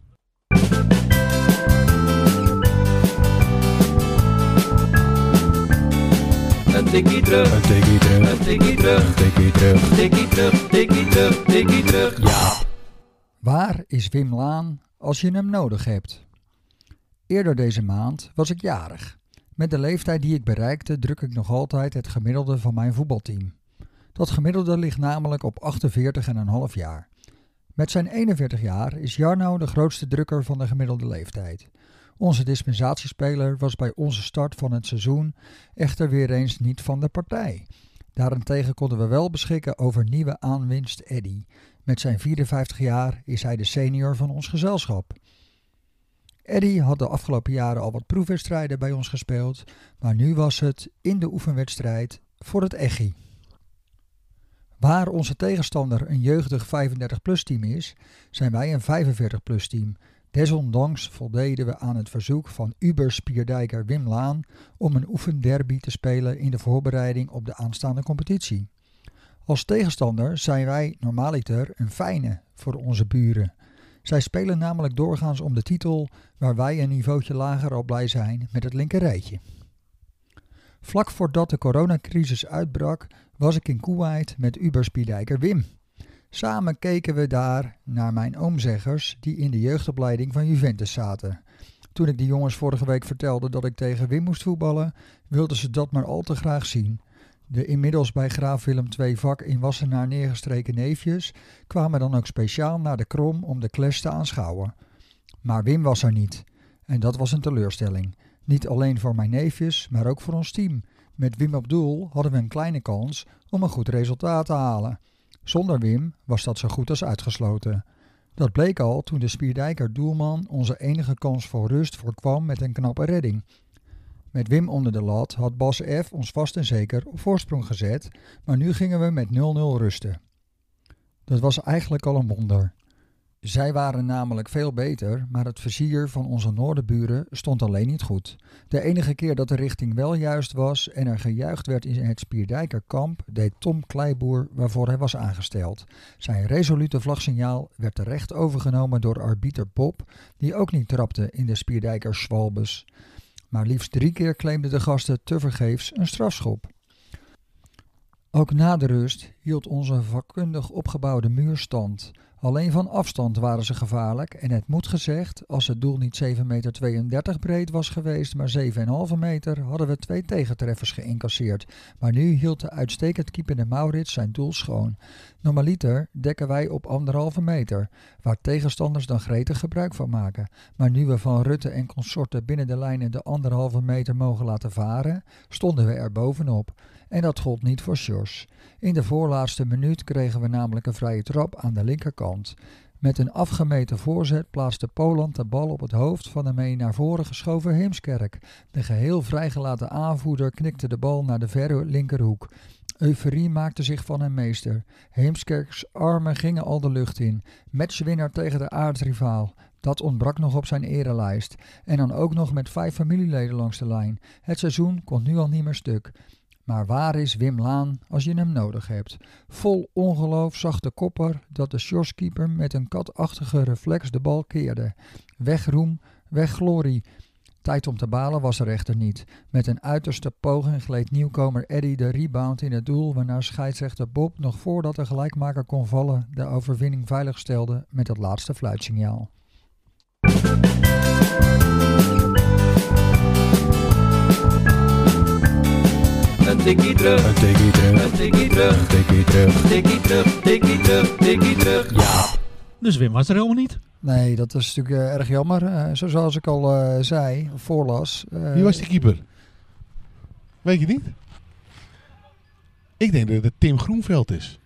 Speaker 6: Een tikkie terug,
Speaker 4: Een tikkie terug,
Speaker 6: een tikkie terug,
Speaker 4: een tikkie terug.
Speaker 6: tikkie terug, tikkie terug, tikkie terug.
Speaker 4: Ja.
Speaker 1: Waar is Wim Laan als je hem nodig hebt? Eerder deze maand was ik jarig. Met de leeftijd die ik bereikte druk ik nog altijd het gemiddelde van mijn voetbalteam. Dat gemiddelde ligt namelijk op 48,5 jaar. Met zijn 41 jaar is Jarno de grootste drukker van de gemiddelde leeftijd. Onze dispensatiespeler was bij onze start van het seizoen echter weer eens niet van de partij. Daarentegen konden we wel beschikken over nieuwe aanwinst Eddy. Met zijn 54 jaar is hij de senior van ons gezelschap. Eddy had de afgelopen jaren al wat proefwedstrijden bij ons gespeeld, maar nu was het in de oefenwedstrijd voor het Echi. Waar onze tegenstander een jeugdig 35-plus team is, zijn wij een 45-plus team. Desondanks voldeden we aan het verzoek van Uber Spierdijker Wim Laan om een oefenderby te spelen in de voorbereiding op de aanstaande competitie. Als tegenstander zijn wij normaliter een fijne voor onze buren. Zij spelen namelijk doorgaans om de titel, waar wij een niveautje lager al blij zijn met het linkerrijtje. Vlak voordat de coronacrisis uitbrak, was ik in Kuwait met Uberspiedijker Wim. Samen keken we daar naar mijn oomzeggers die in de jeugdopleiding van Juventus zaten. Toen ik de jongens vorige week vertelde dat ik tegen Wim moest voetballen, wilden ze dat maar al te graag zien. De inmiddels bij Graaf Willem II vak in Wassenaar neergestreken neefjes kwamen dan ook speciaal naar de krom om de clash te aanschouwen. Maar Wim was er niet. En dat was een teleurstelling. Niet alleen voor mijn neefjes, maar ook voor ons team. Met Wim op doel hadden we een kleine kans om een goed resultaat te halen. Zonder Wim was dat zo goed als uitgesloten. Dat bleek al toen de Spierdijker doelman onze enige kans voor rust voorkwam met een knappe redding. Met Wim onder de lat had Bas F. ons vast en zeker op voorsprong gezet, maar nu gingen we met 0-0 rusten. Dat was eigenlijk al een wonder. Zij waren namelijk veel beter, maar het vizier van onze noordenburen stond alleen niet goed. De enige keer dat de richting wel juist was en er gejuicht werd in het Spierdijkerkamp, deed Tom Kleiboer waarvoor hij was aangesteld. Zijn resolute vlagsignaal werd terecht overgenomen door arbiter Bob, die ook niet trapte in de Spierdijker Schwalbes. Maar liefst drie keer claimden de gasten tevergeefs een strafschop. Ook na de rust hield onze vakkundig opgebouwde muur stand. Alleen van afstand waren ze gevaarlijk en het moet gezegd, als het doel niet 7,32 meter breed was geweest, maar 7,5 meter, hadden we twee tegentreffers geïncasseerd. Maar nu hield de uitstekend keepende Maurits zijn doel schoon. Normaliter dekken wij op anderhalve meter, waar tegenstanders dan gretig gebruik van maken. Maar nu we van Rutte en consorten binnen de lijnen de anderhalve meter mogen laten varen, stonden we er bovenop. En dat gold niet voor Sjors. In de voorlaatste minuut kregen we namelijk een vrije trap aan de linkerkant. Met een afgemeten voorzet plaatste Poland de bal op het hoofd van de mee naar voren geschoven Heemskerk. De geheel vrijgelaten aanvoerder knikte de bal naar de verre linkerhoek. Euforie maakte zich van hem meester. Heemskerks armen gingen al de lucht in. Matchwinnaar tegen de aardsrivaal. Dat ontbrak nog op zijn erelijst. En dan ook nog met vijf familieleden langs de lijn. Het seizoen kon nu al niet meer stuk. Maar waar is Wim Laan als je hem nodig hebt? Vol ongeloof zag de kopper dat de shortkeeper met een katachtige reflex de bal keerde. Weg roem, weg glorie. Tijd om te balen was er echter niet. Met een uiterste poging gleed nieuwkomer Eddy de rebound in het doel, waarna scheidsrechter Bob nog voordat de gelijkmaker kon vallen de overwinning veilig stelde met het laatste fluitsignaal.
Speaker 6: een tikkie terug,
Speaker 4: Een tikkie terug,
Speaker 6: een tikkie terug,
Speaker 4: een tikkie terug.
Speaker 6: tikkie terug, tikkie terug, tikkie terug.
Speaker 4: Ja,
Speaker 2: Dus Wim was er helemaal niet.
Speaker 1: Nee, dat is natuurlijk eh, erg jammer. Eh, zo- zoals ik al eh, zei, voorlas. eh,
Speaker 3: Wie was die keeper? Weet je niet? Ik denk dat het Tim Groenveld is.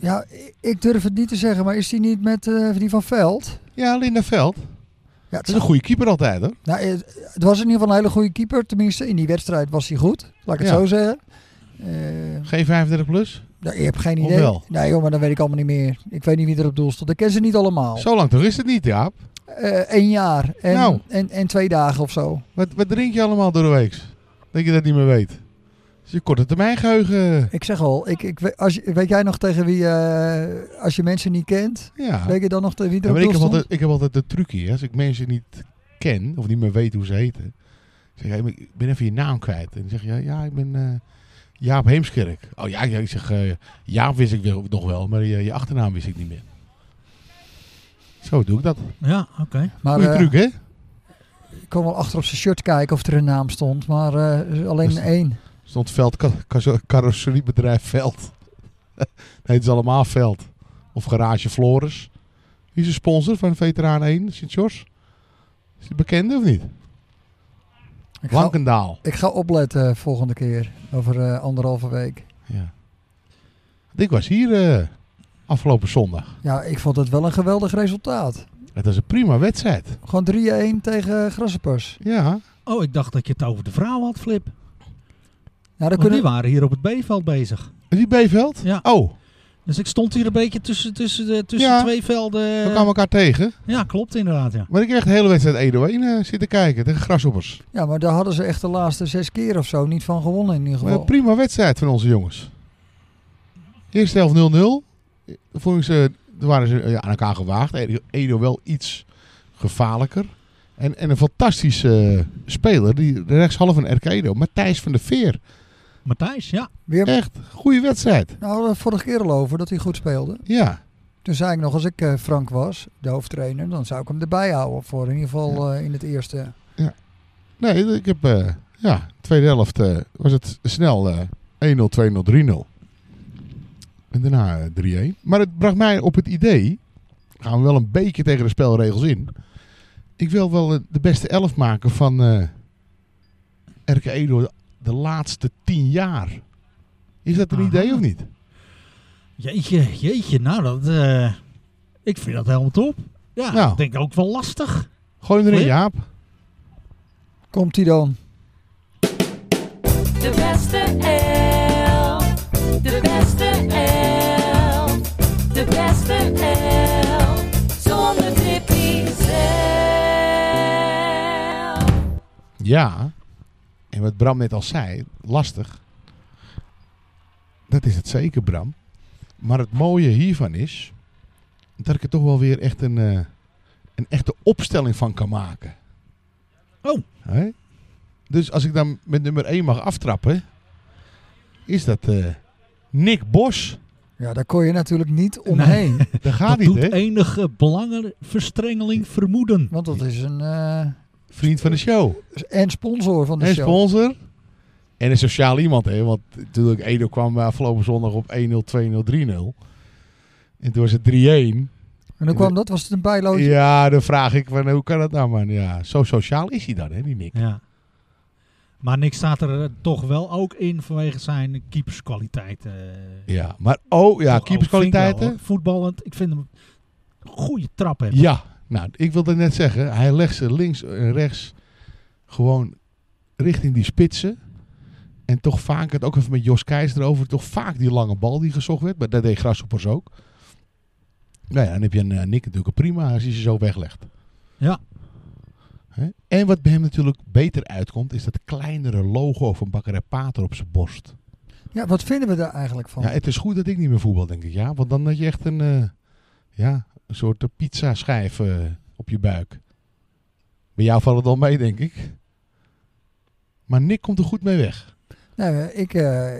Speaker 1: Ja, ik, ik durf het niet te zeggen, maar is die niet met eh, die van Veld?
Speaker 3: Ja, Linda Veld. Dat
Speaker 1: Ja, het,
Speaker 3: is een goede keeper altijd hoor.
Speaker 1: nou, het, het was in ieder geval een hele goede keeper. Tenminste, in die wedstrijd was hij goed. Laat ik het
Speaker 3: Ja.
Speaker 1: zo zeggen. Eh,
Speaker 3: Geen 35 plus.
Speaker 1: Nou, je hebt geen
Speaker 3: Of
Speaker 1: idee.
Speaker 3: wel?
Speaker 1: Nee joh, maar dat weet ik allemaal niet meer. Ik weet niet wie er op doel stond. Ik ken ze niet allemaal.
Speaker 3: Zo lang toch is het niet, Jaap?
Speaker 1: Eén jaar en,
Speaker 3: Nou.
Speaker 1: en, en twee dagen of zo.
Speaker 3: Wat, wat drink je allemaal door de week? Dat je dat niet meer weet. Dat is je korte termijn geheugen.
Speaker 1: Ik zeg al, ik, ik, we- als, je- weet jij nog tegen wie, eh, als je mensen niet kent,
Speaker 3: Ja.
Speaker 1: weet je dan nog tegen wie er
Speaker 3: Ja,
Speaker 1: op
Speaker 3: maar ik
Speaker 1: doel
Speaker 3: heb,
Speaker 1: stond?
Speaker 3: altijd, ik heb altijd de trucje. Als ik mensen niet ken of niet meer weet hoe ze heten. ik Zeg hey, maar ik ben even je naam kwijt. En dan zeg je, ja, ik ben eh, Jaap Heemskerk. Oh ja, ja, ik zeg, eh, Jaap wist ik wel- nog wel, maar je, je achternaam wist ik niet meer. Zo doe ik dat.
Speaker 2: Ja, oké.
Speaker 1: Maar
Speaker 3: Goeie
Speaker 1: eh,
Speaker 3: truc, hè?
Speaker 1: ik kon wel achter op zijn shirt kijken of er een naam stond, maar eh, alleen
Speaker 3: Dus-
Speaker 1: één.
Speaker 3: Stond Veld, ka- ka- carrosseriebedrijf Veld. nee, het is allemaal Veld. Of Garage Flores. Wie is de sponsor van Veteraan 1, Sint-George? Is die bekende of niet?
Speaker 1: Ik ga,
Speaker 3: Lankendaal.
Speaker 1: ik ga opletten eh, volgende keer, over eh, anderhalve week.
Speaker 3: Ja. Ik was hier eh, afgelopen zondag.
Speaker 1: Ja, ik vond het wel een geweldig resultaat.
Speaker 3: Het was een prima wedstrijd.
Speaker 1: Gewoon 3-1 tegen Grassenpers.
Speaker 3: Ja.
Speaker 2: Oh, ik dacht dat je het over de vrouwen had, Flip.
Speaker 1: Nou, dan
Speaker 2: Want Oh, die
Speaker 1: kunnen,
Speaker 2: waren hier op het B-veld bezig.
Speaker 3: Is die Beeveld?
Speaker 2: Ja.
Speaker 3: Oh,
Speaker 2: Dus ik stond hier een beetje tussen, tussen, de, tussen
Speaker 3: Ja.
Speaker 2: twee velden.
Speaker 3: we kwamen elkaar tegen.
Speaker 2: Ja, klopt inderdaad, ja.
Speaker 3: Maar ik heb echt de hele wedstrijd Edo 1 eh, zitten kijken tegen Grasshoppers.
Speaker 1: ja, maar daar hadden ze echt de laatste zes keer of zo niet van gewonnen in ieder
Speaker 3: Maar
Speaker 1: geval.
Speaker 3: een prima wedstrijd van onze jongens. Eerste helft 0-0. Vonden ze, daar waren ze eh, aan elkaar gewaagd. Edo- Edo wel iets gevaarlijker. En, en een fantastische eh, speler, die rechtshalve van RK Edo, Matthijs van der Veer.
Speaker 2: Matthijs, ja.
Speaker 1: Weer
Speaker 3: Echt, goede wedstrijd.
Speaker 1: Nou, we hadden het vorige keer al over dat hij goed speelde.
Speaker 3: Ja,
Speaker 1: Toen zei ik nog, als ik eh, Frank was, de hoofdtrainer, dan zou ik hem erbij houden. Voor in ieder geval eh, in het eerste.
Speaker 3: nee, ik heb, eh, ja, tweede helft eh, was het snel eh, 1-0, 2-0, 3-0. En daarna eh, 3-1. Maar het bracht mij op het idee, gaan we wel een beetje tegen de spelregels in. Ik wil wel eh, de beste elf maken van eh RK Edo de laatste tien jaar. Is dat een
Speaker 2: Aha.
Speaker 3: idee of niet?
Speaker 2: Jeetje, jeetje. Nou, dat... eh, ik vind dat helemaal top. Ja,
Speaker 3: Nou.
Speaker 2: ik denk ook wel lastig.
Speaker 3: Gooi hem erin,
Speaker 2: Goeie.
Speaker 3: Jaap.
Speaker 1: Komt hij dan?
Speaker 7: De beste elf. De beste elf. De beste elf. Zonder trippie zelf.
Speaker 3: Ja, en wat Bram net al zei, lastig. Dat is het zeker, Bram. Maar het mooie hiervan is dat ik er toch wel weer echt een, eh, een echte opstelling van kan maken.
Speaker 2: Oh.
Speaker 3: Hè? Dus als ik dan met nummer 1 mag aftrappen, is dat eh, Nick Bos.
Speaker 1: Ja, daar kon je natuurlijk niet omheen.
Speaker 3: Daar gaat
Speaker 2: dat
Speaker 3: hij,
Speaker 2: doet
Speaker 3: hè?
Speaker 2: enige belangenverstrengeling vermoeden.
Speaker 1: Want dat is een... eh,
Speaker 3: Vriend van de show.
Speaker 1: en sponsor van de
Speaker 3: en
Speaker 1: show.
Speaker 3: sponsor. En een sociaal iemand, hè? Want natuurlijk, Edo kwam eh, afgelopen zondag op 1-0, 2-0, 3-0. En toen was het 3-1.
Speaker 1: en dan kwam dat, was het een bijlootje?
Speaker 3: Ja, dan vraag ik van hoe kan dat nou, man? Ja, zo sociaal is hij dan, hè, die Nick?
Speaker 2: Ja. Maar Nick staat er eh, toch wel ook in vanwege zijn keeperskwaliteit. eh.
Speaker 3: Ja, maar oh ja,
Speaker 2: Toch ook, vind ik wel,
Speaker 3: keeperskwaliteiten.
Speaker 2: hoor. Voetballend, ik vind hem een goede trap hebben.
Speaker 3: Ja, nou, ik wilde net zeggen, hij legt ze links en rechts gewoon richting die spitsen. En toch vaak, het ook even met Jos Keijs erover, toch vaak die lange bal die gezocht werd. Maar dat deed Grasshoppers ook. Nou ja, dan heb je een eh, Nick natuurlijk een prima als je ze zo weglegt.
Speaker 2: Ja.
Speaker 3: Hè? En wat bij hem natuurlijk beter uitkomt, is dat kleinere logo van Bakkerij Pater op zijn borst.
Speaker 1: Ja, wat vinden we daar eigenlijk van?
Speaker 3: Ja, het is goed dat ik niet meer voetbal, denk ik. Ja, want dan had je echt een, eh, ja, een soort eh, pizzaschijf eh, op je buik. Bij jou valt het al mee, denk ik. Maar Nick komt er goed mee weg.
Speaker 1: Nou, eh, ik, eh,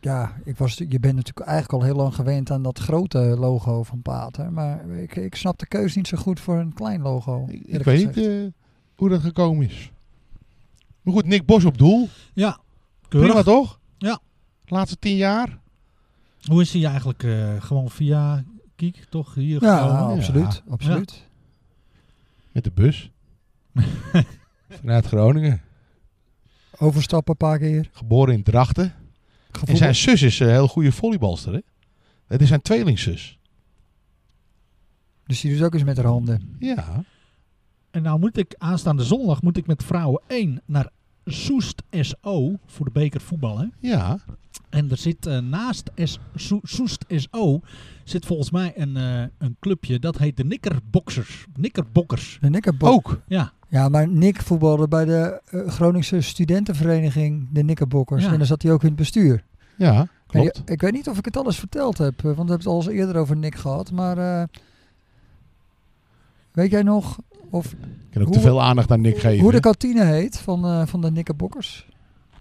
Speaker 1: ja, ik was, je bent natuurlijk eigenlijk al heel lang gewend aan dat grote logo van Pater. Maar ik, ik snap de keuze niet zo goed voor een klein logo.
Speaker 3: Ik, ik
Speaker 1: eerlijk
Speaker 3: weet
Speaker 1: gezegd.
Speaker 3: niet eh, hoe dat gekomen is. Maar goed, Nick Bos op doel.
Speaker 2: Ja, keurig.
Speaker 3: Prima toch?
Speaker 2: Ja.
Speaker 3: Laatste tien jaar.
Speaker 2: Hoe is hij eigenlijk eh, gewoon via Kiek toch hier
Speaker 3: eh,
Speaker 1: ja,
Speaker 2: gekomen?
Speaker 1: absoluut. absoluut.
Speaker 3: Met de bus. Vanuit Groningen.
Speaker 1: Overstappen een paar keer.
Speaker 3: Geboren in Drachten. En
Speaker 1: Gevoel.
Speaker 3: zijn zus is een heel goede volleybalster. Hè? Het is zijn tweelingzus.
Speaker 1: Dus die doet ook eens met haar handen.
Speaker 3: Ja.
Speaker 2: En nou moet ik aanstaande zondag moet ik met vrouwen 1 naar Soest SO voor de beker voetbal. Hè?
Speaker 3: Ja.
Speaker 2: En er zit eh, naast S Soe- Soest SO zit volgens mij een, eh, een clubje dat heet de Nikkerboxers. Nikkerbokkers.
Speaker 1: De Nikkerbok.
Speaker 3: Ook.
Speaker 2: Ja,
Speaker 1: Ja, maar Nick voetbalde bij de eh, Groningse studentenvereniging, de Nikkerbokkers.
Speaker 2: Ja.
Speaker 1: En dan zat hij ook in het bestuur.
Speaker 3: Ja,
Speaker 1: En die-
Speaker 3: klopt.
Speaker 1: ik weet niet of ik het alles verteld heb, eh, want we hebben het al eens eerder over Nick gehad. Maar eh, weet jij nog of,
Speaker 3: Ik kan ook
Speaker 1: Hoe-
Speaker 3: te veel aandacht aan Nick geven.
Speaker 1: hoe de
Speaker 3: hè?
Speaker 1: kantine heet van, eh, van de Nikkerbokkers?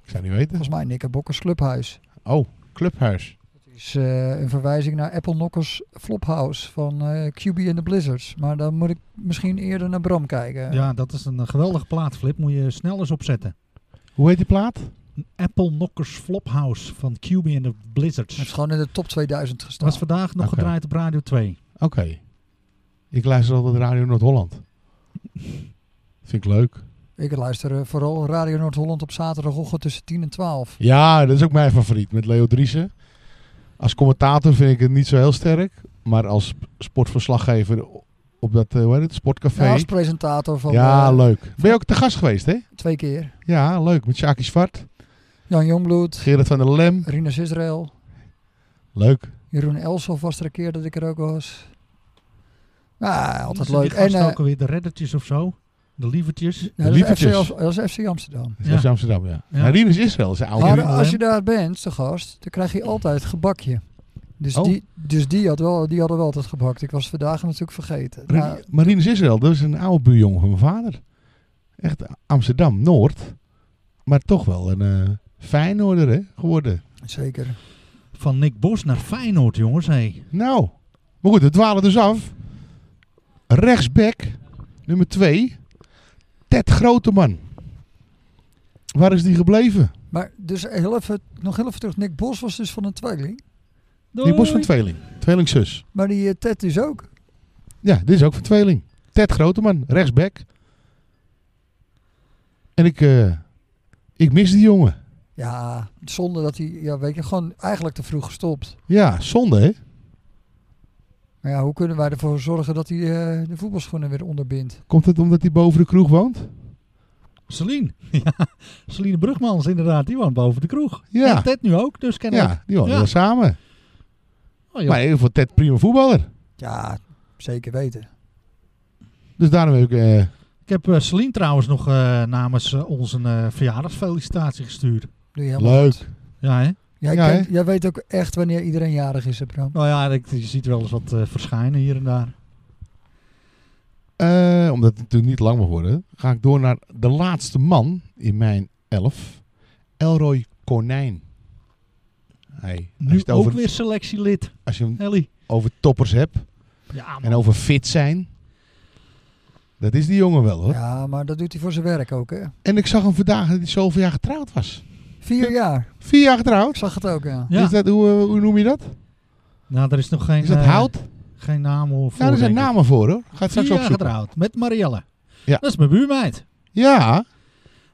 Speaker 3: Ik zou niet weten.
Speaker 1: Volgens mij Nikkerbokkers Clubhuis.
Speaker 3: Oh, Clubhuis.
Speaker 1: Het is eh, een verwijzing naar Apple Knockers Flophouse van eh, QB and the Blizzards. Maar dan moet ik misschien eerder naar Bram kijken.
Speaker 2: ja, dat is een eh, geweldige plaatflip. Moet je snel eens opzetten.
Speaker 3: Hoe heet die plaat?
Speaker 2: Apple Knockers Flophouse van QB en de
Speaker 1: Hij heeft
Speaker 2: Blizzards.
Speaker 1: gewoon in de top 2000 gestaan.
Speaker 2: Was vandaag nog
Speaker 3: Oké.
Speaker 2: gedraaid op Radio 2.
Speaker 3: Oké. Ik luister altijd Radio Noord-Holland. Vind ik leuk.
Speaker 1: Ik luister eh, vooral Radio Noord-Holland op zaterdagochtend tussen 10 en 12.
Speaker 3: Ja, dat is ook mijn favoriet met Leo Driessen. Als commentator vind ik het niet zo heel sterk. Maar als sportverslaggever op dat eh, hoe heet het, sportcafé.
Speaker 1: Ja,
Speaker 3: Ja,
Speaker 1: als presentator van eh,
Speaker 3: leuk. Ben je ook te gast geweest, hè?
Speaker 1: twee keer.
Speaker 3: Ja, leuk. Met Sjaki Zwart,
Speaker 1: Jan Jongbloed,
Speaker 3: Gerard van der Lem.
Speaker 1: Rinus Israël,
Speaker 3: Leuk.
Speaker 1: Jeroen Elsof was er een keer dat ik er ook was. Nou, altijd
Speaker 2: Zijn
Speaker 1: leuk.
Speaker 2: Die
Speaker 1: En,
Speaker 2: gast
Speaker 1: eh
Speaker 2: ook alweer de reddertjes of zo. De lievertjes.
Speaker 1: ja, dat, is FC,
Speaker 3: Lievertjes.
Speaker 1: Amst- dat is FC Amsterdam.
Speaker 3: Dat
Speaker 2: Ja.
Speaker 3: is Amsterdam, ja.
Speaker 2: Ja.
Speaker 3: ja. Rinus Israël is een oude.
Speaker 1: Maar
Speaker 2: Jeroen
Speaker 1: als je
Speaker 2: Lem.
Speaker 1: daar bent, te gast, dan krijg je altijd gebakje. Dus,
Speaker 3: Oh.
Speaker 1: die, dus die, had wel, die hadden wel altijd gebakt. Ik was vandaag natuurlijk vergeten.
Speaker 3: Rin-
Speaker 1: Nou,
Speaker 3: maar Rinus Israël, dat is een oude buurjongen van mijn vader. Echt Amsterdam, Noord. Maar toch wel een eh Feyenoorder hè, geworden.
Speaker 1: zeker.
Speaker 2: Van Nick Bos naar Feyenoord, jongens. Hey.
Speaker 3: Nou, maar goed, we dwalen dus af. Rechtsback, nummer 2. Ted Groteman. Waar is die gebleven?
Speaker 1: Maar dus heel even, nog heel even terug. Nick Bos was dus van een tweeling.
Speaker 3: Die Bos van Tweeling. Tweelingzus.
Speaker 1: Maar die eh, Ted is ook.
Speaker 3: Ja, dit is ook van Tweeling. Ted Groteman, rechtsback. En ik, eh, ik mis die jongen.
Speaker 1: Ja, zonder dat hij, ja, weet je, gewoon eigenlijk te vroeg gestopt.
Speaker 3: Ja, zonde hè?
Speaker 1: Maar ja, hoe kunnen wij ervoor zorgen dat hij eh, de voetbalschoenen weer onderbindt?
Speaker 3: Komt het omdat hij boven de kroeg woont?
Speaker 2: Celine. Ja, Celine Brugmans inderdaad. Die woont boven de kroeg.
Speaker 3: Ja.
Speaker 2: En Ted nu ook, dus ken ik.
Speaker 3: Ja, die wonen
Speaker 2: Ja.
Speaker 3: wel samen.
Speaker 2: Oh, joh.
Speaker 3: Maar in ieder geval Ted prima voetballer.
Speaker 1: Ja, zeker weten.
Speaker 3: Dus daarom heb ik... eh,
Speaker 2: Ik heb eh, Celine trouwens nog eh, namens eh, ons een eh, verjaardagsfelicitatie gestuurd.
Speaker 1: Doe je helemaal
Speaker 3: leuk.
Speaker 1: goed.
Speaker 2: Ja, hè?
Speaker 1: Jij,
Speaker 3: Ja,
Speaker 1: kent-
Speaker 3: hè?
Speaker 1: jij weet ook echt wanneer iedereen jarig is, hè, Bram.
Speaker 2: Nou ja, ik, je ziet wel eens wat eh, verschijnen hier en daar.
Speaker 3: Eh, omdat het natuurlijk niet lang mag worden, ga ik door naar de laatste man in mijn elf. Elroy Konijn. Hey, als, je
Speaker 2: Nu
Speaker 3: het over,
Speaker 2: ook weer selectielid,
Speaker 3: als je hem
Speaker 2: Ellie.
Speaker 3: over toppers hebt
Speaker 2: Ja, man.
Speaker 3: en over fit zijn. Dat is die jongen wel hoor.
Speaker 1: Ja, maar dat doet hij voor zijn werk ook, hè.
Speaker 3: En ik zag hem vandaag dat hij zoveel jaar getrouwd was.
Speaker 1: Vier jaar.
Speaker 3: Vier jaar
Speaker 1: Ik
Speaker 3: getrouwd.
Speaker 1: zag het ook, ja.
Speaker 2: Ja.
Speaker 3: Is dat, hoe, eh, hoe noem je dat?
Speaker 2: Nou, er is nog geen,
Speaker 3: Is dat
Speaker 2: eh,
Speaker 3: hout?
Speaker 2: geen naam voor.
Speaker 3: Ja, er zijn
Speaker 2: denk ik.
Speaker 3: namen voor hoor. Ga het straks
Speaker 2: Vier jaar
Speaker 3: opzoeken.
Speaker 2: getrouwd met Marielle.
Speaker 3: Ja.
Speaker 2: Dat is mijn buurmeid.
Speaker 3: Ja,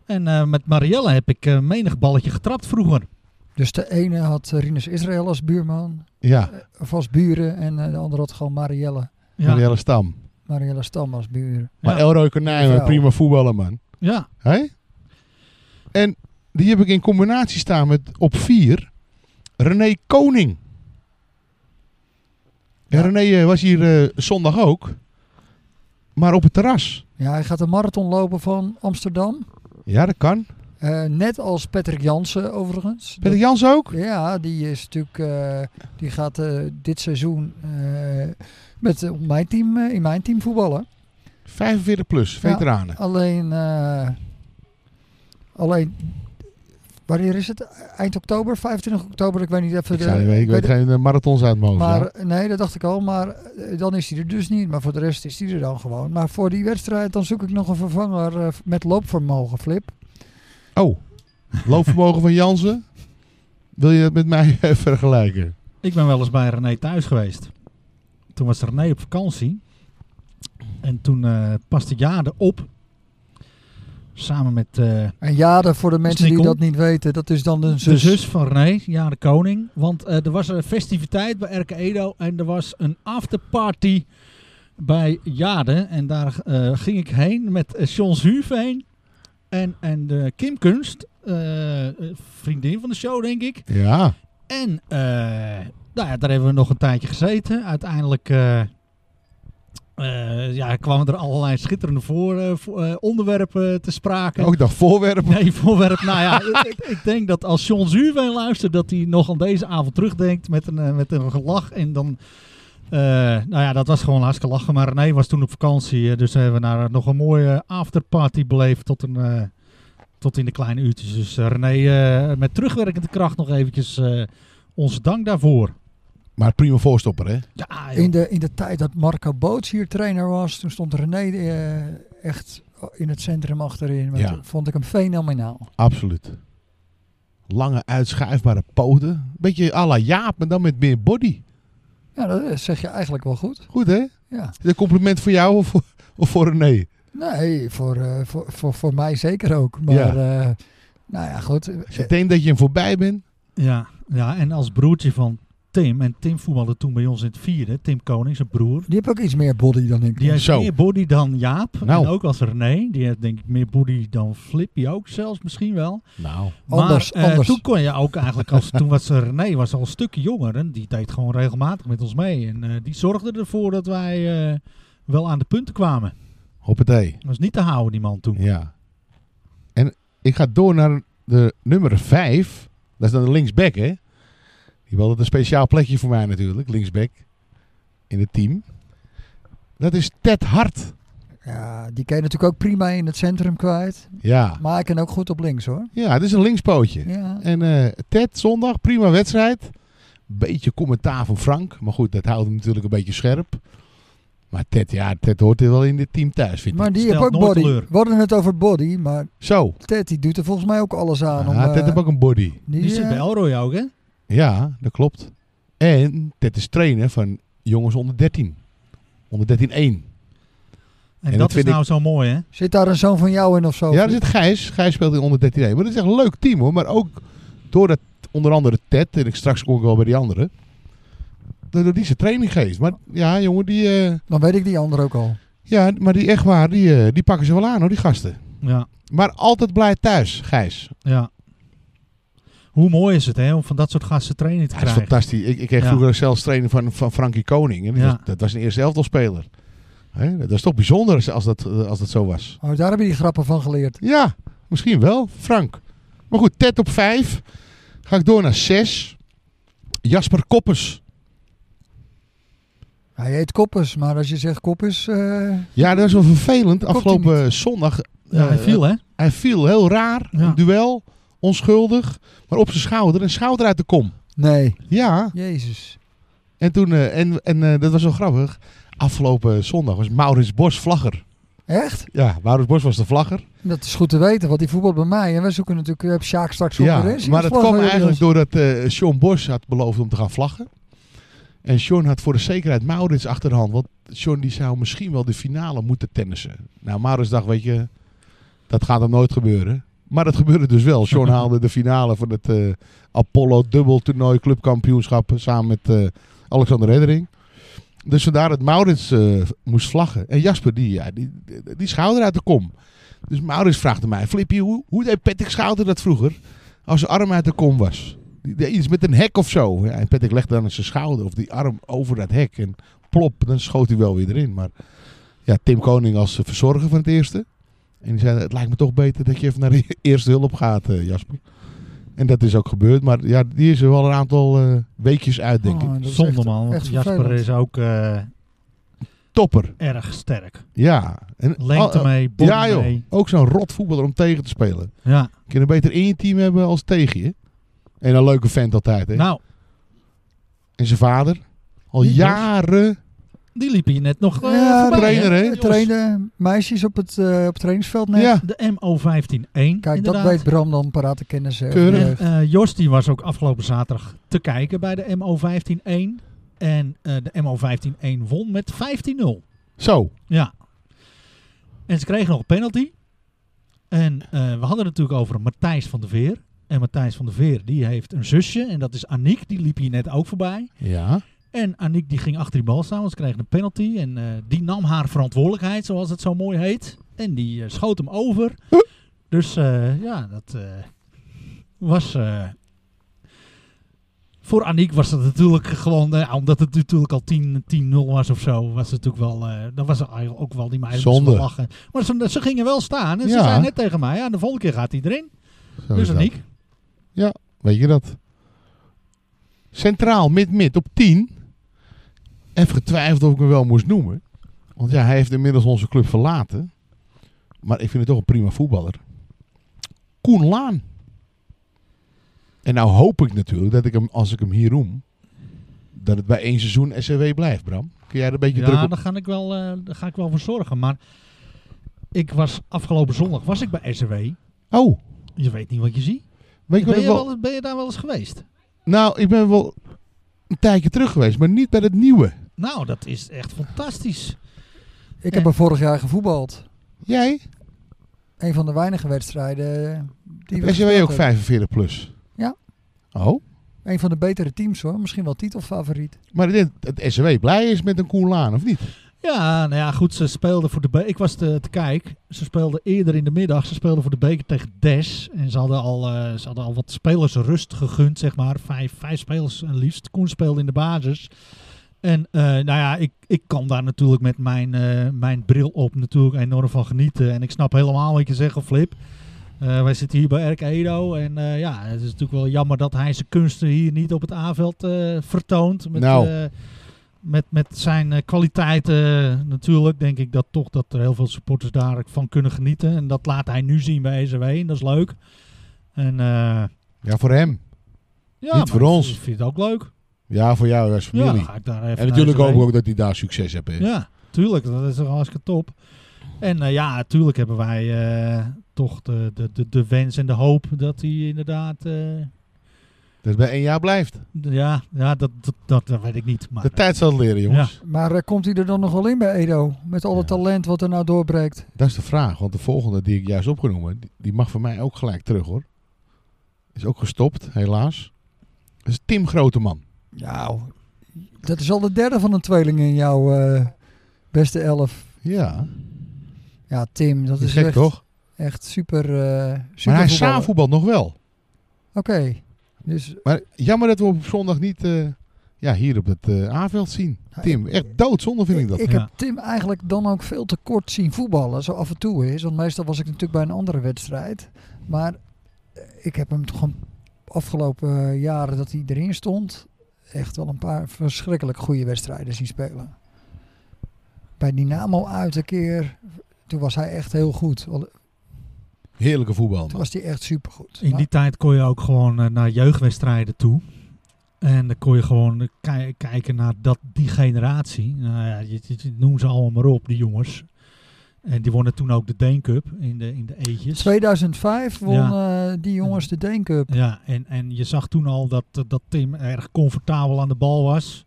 Speaker 2: En eh, met Marielle heb ik eh, menig balletje getrapt vroeger.
Speaker 1: Dus de ene had eh, Rinus Israël als buurman,
Speaker 3: ja.
Speaker 1: of als buren. En eh, de andere had gewoon Marielle,
Speaker 2: Ja, ja.
Speaker 3: Marielle Stam.
Speaker 1: Marielle Stam als buren.
Speaker 3: Maar
Speaker 2: Ja.
Speaker 3: Elroy Konijn,
Speaker 1: Vrouw.
Speaker 3: een prima voetballer man. Hé? En die heb ik in combinatie staan met op 4 René Koning. Ja, René eh, was hier eh, zondag ook. Maar op het terras.
Speaker 1: Ja, hij gaat de marathon lopen van Amsterdam.
Speaker 3: Ja, dat kan.
Speaker 1: Eh, net als Patrick Jansen overigens.
Speaker 3: Peter Jans ook?
Speaker 1: Ja, die is natuurlijk. eh, die gaat eh, dit seizoen eh, met eh, op mijn team, eh, in mijn team voetballen.
Speaker 3: 45 plus, veteranen.
Speaker 1: Alleen. eh, alleen. Wanneer is het? Eind oktober, 25 oktober. Ik weet niet even.
Speaker 3: Ik,
Speaker 1: de-
Speaker 3: zei, ik weet, ik weet
Speaker 1: de-
Speaker 3: geen eh, marathons uit mijn hoofd.
Speaker 1: maar
Speaker 3: hoor.
Speaker 1: eh, nee, dat dacht ik al. Maar eh, dan is hij er dus niet. Maar voor de rest is hij er dan gewoon. Maar voor die wedstrijd dan zoek ik nog een vervanger eh, met loopvermogen, Flip.
Speaker 3: Oh, loopvermogen van Jansen. Wil je dat met mij eh, vergelijken?
Speaker 2: Ik ben wel eens bij René thuis geweest. Toen was René op vakantie. En toen eh paste Jade op. Samen met eh,
Speaker 1: En Jade, voor de mensen die
Speaker 2: Nikkel.
Speaker 1: dat niet weten, dat is dan een
Speaker 2: de
Speaker 1: zus.
Speaker 2: zus van René, Jade Koning. Want eh, er was een festiviteit bij Erke Edo. En er was een afterparty bij Jade. En daar eh, ging ik heen met uh, Sjons Huveen. En, en eh, Kim Kunst. eh, vriendin van de show, denk ik.
Speaker 3: Ja.
Speaker 2: En eh, nou ja, daar hebben we nog een tijdje gezeten. Uiteindelijk eh, eh, ja, kwamen er allerlei schitterende voor, eh, vo- eh, onderwerpen te sprake.
Speaker 3: Ook nog voorwerpen.
Speaker 2: Nee, voorwerp. Nou ja, ik, ik- ik denk dat als John Zuurveen luistert, dat hij nog aan deze avond terugdenkt met een, eh, met een gelach. En dan, eh, nou ja, dat was gewoon hartstikke lachen. Maar René was toen op vakantie, eh, dus hebben we naar nog een mooie afterparty beleefd tot, een, eh, tot in de kleine uurtjes. Dus eh, René, eh, met terugwerkende kracht nog eventjes eh, onze dank daarvoor.
Speaker 3: Maar prima voorstopper, hè?
Speaker 2: Ja, joh.
Speaker 1: In de, in de tijd dat Marco Boots hier trainer was, toen stond René eh, echt in het centrum achterin. Maar
Speaker 3: Ja.
Speaker 1: toen Vond ik hem fenomenaal.
Speaker 3: Absoluut. Lange uitschuifbare poten. Beetje à la Jaap, maar dan met meer body.
Speaker 1: Ja, dat eh, zeg je eigenlijk wel goed.
Speaker 3: Goed, hè?
Speaker 1: Ja.
Speaker 3: Is dat een compliment voor jou of voor, of voor René?
Speaker 1: Nee, voor, eh, voor, voor, voor mij zeker ook. Maar eh, nou ja, goed.
Speaker 3: Als je denkt dat je hem voorbij bent.
Speaker 2: ja, ja, en als broertje van Tim, en Tim voetbalde toen bij ons in het vierde, Tim Koning, zijn broer.
Speaker 1: Die heeft ook iets meer body dan ik.
Speaker 2: Die heeft
Speaker 3: Zo.
Speaker 2: meer body dan Jaap.
Speaker 3: Nou.
Speaker 2: En ook als René. Die heeft denk ik meer body dan Flippy ook zelfs misschien wel.
Speaker 3: Nou.
Speaker 1: Anders,
Speaker 2: maar, eh,
Speaker 1: anders.
Speaker 2: toen kon je ook eigenlijk als... toen was René was al een stukje jonger. En die deed gewoon regelmatig met ons mee. En eh, die zorgde ervoor dat wij eh, wel aan de punten kwamen.
Speaker 3: Hoppatee.
Speaker 2: Dat was niet te houden die man toen.
Speaker 3: Ja. En ik ga door naar de nummer 5. Dat is dan de linksback, hè? Die wilde een speciaal plekje voor mij natuurlijk, linksback. In het team. Dat is Ted Hart.
Speaker 1: Ja, die kan je natuurlijk ook prima in het centrum kwijt.
Speaker 3: Ja.
Speaker 1: Maar hij kan ook goed op links hoor.
Speaker 3: Ja, het is een linkspootje.
Speaker 1: Ja.
Speaker 3: En eh, Ted, zondag, prima wedstrijd. Beetje commentaar van Frank. Maar goed, dat houdt hem natuurlijk een beetje scherp. Maar Ted, ja, Ted hoort er wel in dit team thuis, vind ik.
Speaker 1: Maar die heeft
Speaker 2: Stelt
Speaker 1: ook
Speaker 2: nooit
Speaker 1: body.
Speaker 2: teleur.
Speaker 1: We hadden het over body, maar
Speaker 3: Zo.
Speaker 1: Ted die doet er volgens mij ook alles aan. om,
Speaker 3: Ah,
Speaker 1: eh,
Speaker 3: Ted heeft ook een body.
Speaker 1: die,
Speaker 2: Die zit
Speaker 1: eh,
Speaker 2: bij Elroy ook hè.
Speaker 3: Ja, dat klopt. En Ted is trainer van jongens onder 13. Onder 13-1.
Speaker 2: En,
Speaker 3: dat
Speaker 2: dat is
Speaker 3: vind
Speaker 2: nou zo mooi hè.
Speaker 1: Zit daar een zoon van jou in of zo?
Speaker 3: Ja, daar zit Gijs. Gijs speelt in onder 13-1. Maar dat is echt een leuk team hoor. Maar ook doordat onder andere Ted, en ik straks kom ik wel bij die anderen. Doordat die zijn training geeft. Maar ja, jongen, die... eh,
Speaker 1: Dan weet ik die ander ook al.
Speaker 3: Ja, maar die echt waar, die, eh, die pakken ze wel aan hoor, die gasten.
Speaker 2: Ja,
Speaker 3: Maar altijd blij thuis, Gijs.
Speaker 2: ja. Hoe mooi is het hè om van dat soort gasten training te
Speaker 3: Hij is
Speaker 2: krijgen.
Speaker 3: fantastisch. Ik, ik kreeg
Speaker 2: Ja.
Speaker 3: vroeger zelfs trainen van, van Frankie Koning. En die
Speaker 2: Ja.
Speaker 3: was- dat was een eerste elftalspeler. Hè, Dat is toch bijzonder als- als dat, eh, als dat zo was.
Speaker 1: Oh, daar heb je die grappen van geleerd.
Speaker 3: Ja, misschien wel, Frank. Maar goed, Ted op vijf. Ga ik door naar zes. Jasper Koppers.
Speaker 1: Hij heet Koppers, maar als je zegt Koppers... eh,
Speaker 3: Ja, dat is wel vervelend.
Speaker 1: hij
Speaker 3: Afgelopen zondag.
Speaker 2: ja, hij
Speaker 3: eh,
Speaker 2: viel hè.
Speaker 3: Hij viel heel raar.
Speaker 2: Ja.
Speaker 3: Een duel. Onschuldig. Maar op zijn schouder. Een schouder uit de kom.
Speaker 1: nee,
Speaker 3: Ja.
Speaker 1: Jezus.
Speaker 3: En toen, eh, en, en eh, dat was wel grappig. Afgelopen zondag was Maurits Bos vlagger.
Speaker 1: Echt?
Speaker 3: Ja, Maurits Bos was de vlagger.
Speaker 1: Dat is goed te weten, want die voetbalt bij mij. En wij zoeken natuurlijk... eh, Sjaak straks op de
Speaker 3: Ja,
Speaker 1: racing.
Speaker 3: maar dat
Speaker 1: Vlag
Speaker 3: kwam
Speaker 1: van jullie
Speaker 3: eigenlijk
Speaker 1: was-
Speaker 3: doordat eh Sean Bos had beloofd om te gaan vlaggen. En Sean had voor de zekerheid Maurits achter de hand. Want Sean die zou misschien wel de finale moeten tennissen. Nou, Maurits dacht, weet je, dat gaat hem nooit gebeuren. Maar dat gebeurde dus wel. Sean haalde de finale van het eh, Apollo dubbel toernooi clubkampioenschap samen met eh, Alexander Reddering. Dus vandaar dat Maurits eh, moest vlaggen. En Jasper, die, ja, die, die, die schouder uit de kom. Dus Maurits vraagt aan mij, Flippy, hoe, hoe deed Patrick Schouder dat vroeger? Als zijn arm uit de kom was. die- die- Iets met een hek of zo. Ja, en Patrick legde dan zijn schouder of die arm over dat hek. En plop, dan schoot hij wel weer erin. Maar ja, Tim Koning als eh, verzorger van het eerste. En die zei, het lijkt me toch beter dat je even naar de eerste hulp gaat, eh, Jasper. En dat is ook gebeurd. Maar ja, die is er wel een aantal eh, weekjes uit, denk ik.
Speaker 1: Oh, dat is
Speaker 2: Zonde
Speaker 1: echt-
Speaker 2: man, want
Speaker 1: echt
Speaker 2: Jasper
Speaker 1: vervelend.
Speaker 2: is ook eh,
Speaker 3: Topper.
Speaker 2: erg sterk.
Speaker 3: Ja. En,
Speaker 2: Lengte
Speaker 3: oh, oh,
Speaker 2: mee, body
Speaker 3: ja joh,
Speaker 2: mee.
Speaker 3: ook zo'n rot voetballer om tegen te spelen.
Speaker 2: Ja.
Speaker 3: Kun je beter in je team hebben als tegen je. En een leuke vent altijd. Hè?
Speaker 2: Nou,
Speaker 3: En zijn vader. Al
Speaker 2: Die Jos.
Speaker 3: jaren.
Speaker 2: die liep hier net nog eh,
Speaker 1: Ja,
Speaker 2: voorbij,
Speaker 3: trainer, hè?
Speaker 1: Er trainen meisjes op het, eh, op het trainingsveld net.
Speaker 3: Ja.
Speaker 2: De MO151
Speaker 1: Kijk,
Speaker 2: inderdaad.
Speaker 1: dat weet Bram dan parate kennis. hè, over de
Speaker 3: Keurig.
Speaker 2: En,
Speaker 1: jeugd.
Speaker 2: eh, Jos die was ook afgelopen zaterdag te kijken bij de MO151. En eh, de MO151 won met 15-0.
Speaker 3: Zo.
Speaker 2: Ja. En ze kregen nog een penalty. En eh, we hadden het natuurlijk over Matthijs van der Veer. En Matthijs van der Veer die heeft een zusje. En dat is Aniek. Die liep hier net ook voorbij.
Speaker 3: Ja.
Speaker 2: En Aniek die ging achter die bal staan, want ze kreeg een penalty. En eh, die nam haar verantwoordelijkheid, zoals het zo mooi heet. En die eh, schoot hem over. Dus eh, ja, dat eh, was... eh, voor Aniek was dat natuurlijk gewoon... eh, omdat het natuurlijk al 10 10-0 was of zo, was het natuurlijk wel... eh dan was er eigenlijk ook wel die meiden moesten
Speaker 3: Zonde.
Speaker 2: wel lachen. Maar ze, ze gingen wel staan en ze
Speaker 3: Ja.
Speaker 2: zei net tegen mij... Ja, de volgende keer gaat hij erin.
Speaker 3: Zo is
Speaker 2: dus
Speaker 3: dat.
Speaker 2: Aniek,
Speaker 3: Weet je dat? Centraal, mid-mid, op 10. Even getwijfeld of ik hem wel moest noemen. Want ja, hij heeft inmiddels onze club verlaten. Maar ik vind het toch een prima voetballer. Koen Laan. En nou hoop ik natuurlijk dat ik hem, als ik hem hier roem, dat het bij één seizoen SCW blijft, Bram. Kun jij er een beetje druk
Speaker 2: Ja,
Speaker 3: op?
Speaker 2: daar ga, ik wel, eh, daar ga ik wel voor zorgen. Maar ik was afgelopen zondag was ik bij SRW.
Speaker 3: Oh,
Speaker 2: Je weet niet wat je ziet.
Speaker 3: weet je wat
Speaker 2: ben,
Speaker 3: ik
Speaker 2: je
Speaker 3: wel...
Speaker 2: wel eens- ben je daar wel eens geweest?
Speaker 3: Nou, ik ben wel een tijdje terug geweest, maar niet bij het nieuwe.
Speaker 2: Nou, dat is echt fantastisch.
Speaker 1: Ik heb
Speaker 2: En-
Speaker 1: er vorig jaar gevoetbald.
Speaker 3: Jij?
Speaker 1: Een van de weinige wedstrijden. eh, Die we
Speaker 3: SCW
Speaker 1: gespeeld
Speaker 3: ook
Speaker 1: hebben.
Speaker 3: 45 plus?
Speaker 1: Ja.
Speaker 3: Oh?
Speaker 1: Een van de betere teams hoor. Misschien wel titelfavoriet.
Speaker 3: Maar ik denk dat het SW blij is met een Koen Laan, of niet?
Speaker 2: Ja, nou ja, goed. Ze speelden voor de be- Ik was te, te kijken. Ze speelden eerder in de middag. Ze speelden voor de beker tegen Des. En ze hadden al, eh, ze hadden al wat spelers rust gegund, zeg maar. Vijf, vijf spelers eh, liefst. Koen speelde in de basis. En eh, nou ja, ik, ik kan daar natuurlijk met mijn, eh, mijn bril op natuurlijk enorm van genieten. En ik snap helemaal wat je zegt, Flip. Eh, wij zitten hier bij Erk Edo. En eh, ja, het is natuurlijk wel jammer dat hij zijn kunsten hier niet op het aanveld eh, vertoont. Met,
Speaker 3: Nou.
Speaker 2: eh, met, met zijn eh, kwaliteiten natuurlijk denk ik dat toch dat er heel veel supporters daar van kunnen genieten. En dat laat hij nu zien bij SW en dat is leuk. En, eh,
Speaker 3: Ja, voor hem.
Speaker 2: ja,
Speaker 3: Niet
Speaker 2: maar
Speaker 3: voor
Speaker 2: ik
Speaker 3: ons.
Speaker 2: vind- vind het ook leuk.
Speaker 3: Ja, voor jou als
Speaker 2: Ja,
Speaker 3: familie.
Speaker 2: dan ga ik daar even
Speaker 3: en
Speaker 2: naar
Speaker 3: natuurlijk
Speaker 2: SW.
Speaker 3: hoop ik ook dat hij daar succes heeft. hè.
Speaker 2: Ja, tuurlijk. Dat is toch hartstikke top. En eh, ja, natuurlijk hebben wij eh, toch de, de, de, de wens en de hoop dat hij inderdaad... eh,
Speaker 3: Dat het bij één jaar blijft.
Speaker 2: ja, ja dat, dat, dat, dat weet ik niet. Maar
Speaker 3: De tijd zal het leren, jongens.
Speaker 1: Maar eh, komt hij er dan nog wel in bij Edo? Met al het
Speaker 3: Ja.
Speaker 1: talent wat er nou doorbreekt.
Speaker 3: Dat is de vraag, want de volgende die ik juist opgenomen, die, die mag voor mij ook gelijk terug, hoor. Is ook gestopt, helaas. Dat is Tim Groteman.
Speaker 1: Nou, dat is al de derde van een tweeling in jouw eh, beste elf.
Speaker 3: Ja,
Speaker 1: Ja, Tim, dat
Speaker 3: dat is
Speaker 1: is
Speaker 3: gek,
Speaker 1: echt,
Speaker 3: toch?
Speaker 1: echt super. eh super
Speaker 3: Maar hij
Speaker 1: voetballer.
Speaker 3: voetbal nog wel.
Speaker 1: Oké. Dus
Speaker 3: Maar jammer dat we op zondag niet eh, ja, hier op het eh aanveld zien. Tim, echt doodzonde vind ik dat.
Speaker 1: ik
Speaker 2: Ja.
Speaker 1: heb Tim eigenlijk dan ook veel te kort zien voetballen, zo af en toe is. Want meestal was ik natuurlijk bij een andere wedstrijd. Maar eh, ik heb hem toch een afgelopen eh, jaren dat hij erin stond, echt wel een paar verschrikkelijk goede wedstrijden zien spelen. Bij Dynamo uit een keer, toen was hij echt heel goed. Wel,
Speaker 3: Heerlijke voetbal.
Speaker 1: Toen
Speaker 3: man.
Speaker 1: was hij echt supergoed.
Speaker 2: In die tijd kon je ook gewoon eh, naar jeugdwedstrijden toe. En dan kon je gewoon eh, kij- kijken naar dat, die generatie. Nou ja, je, je- je- noem ze allemaal maar op, die jongens. En die wonnen toen ook de Deen Cup in de, in de
Speaker 1: Maar
Speaker 2: eetjes.
Speaker 1: 2005 won eh, die jongens de Deen Cup.
Speaker 2: Ja, en, en je zag toen al dat, eh, dat Tim erg comfortabel aan de bal was.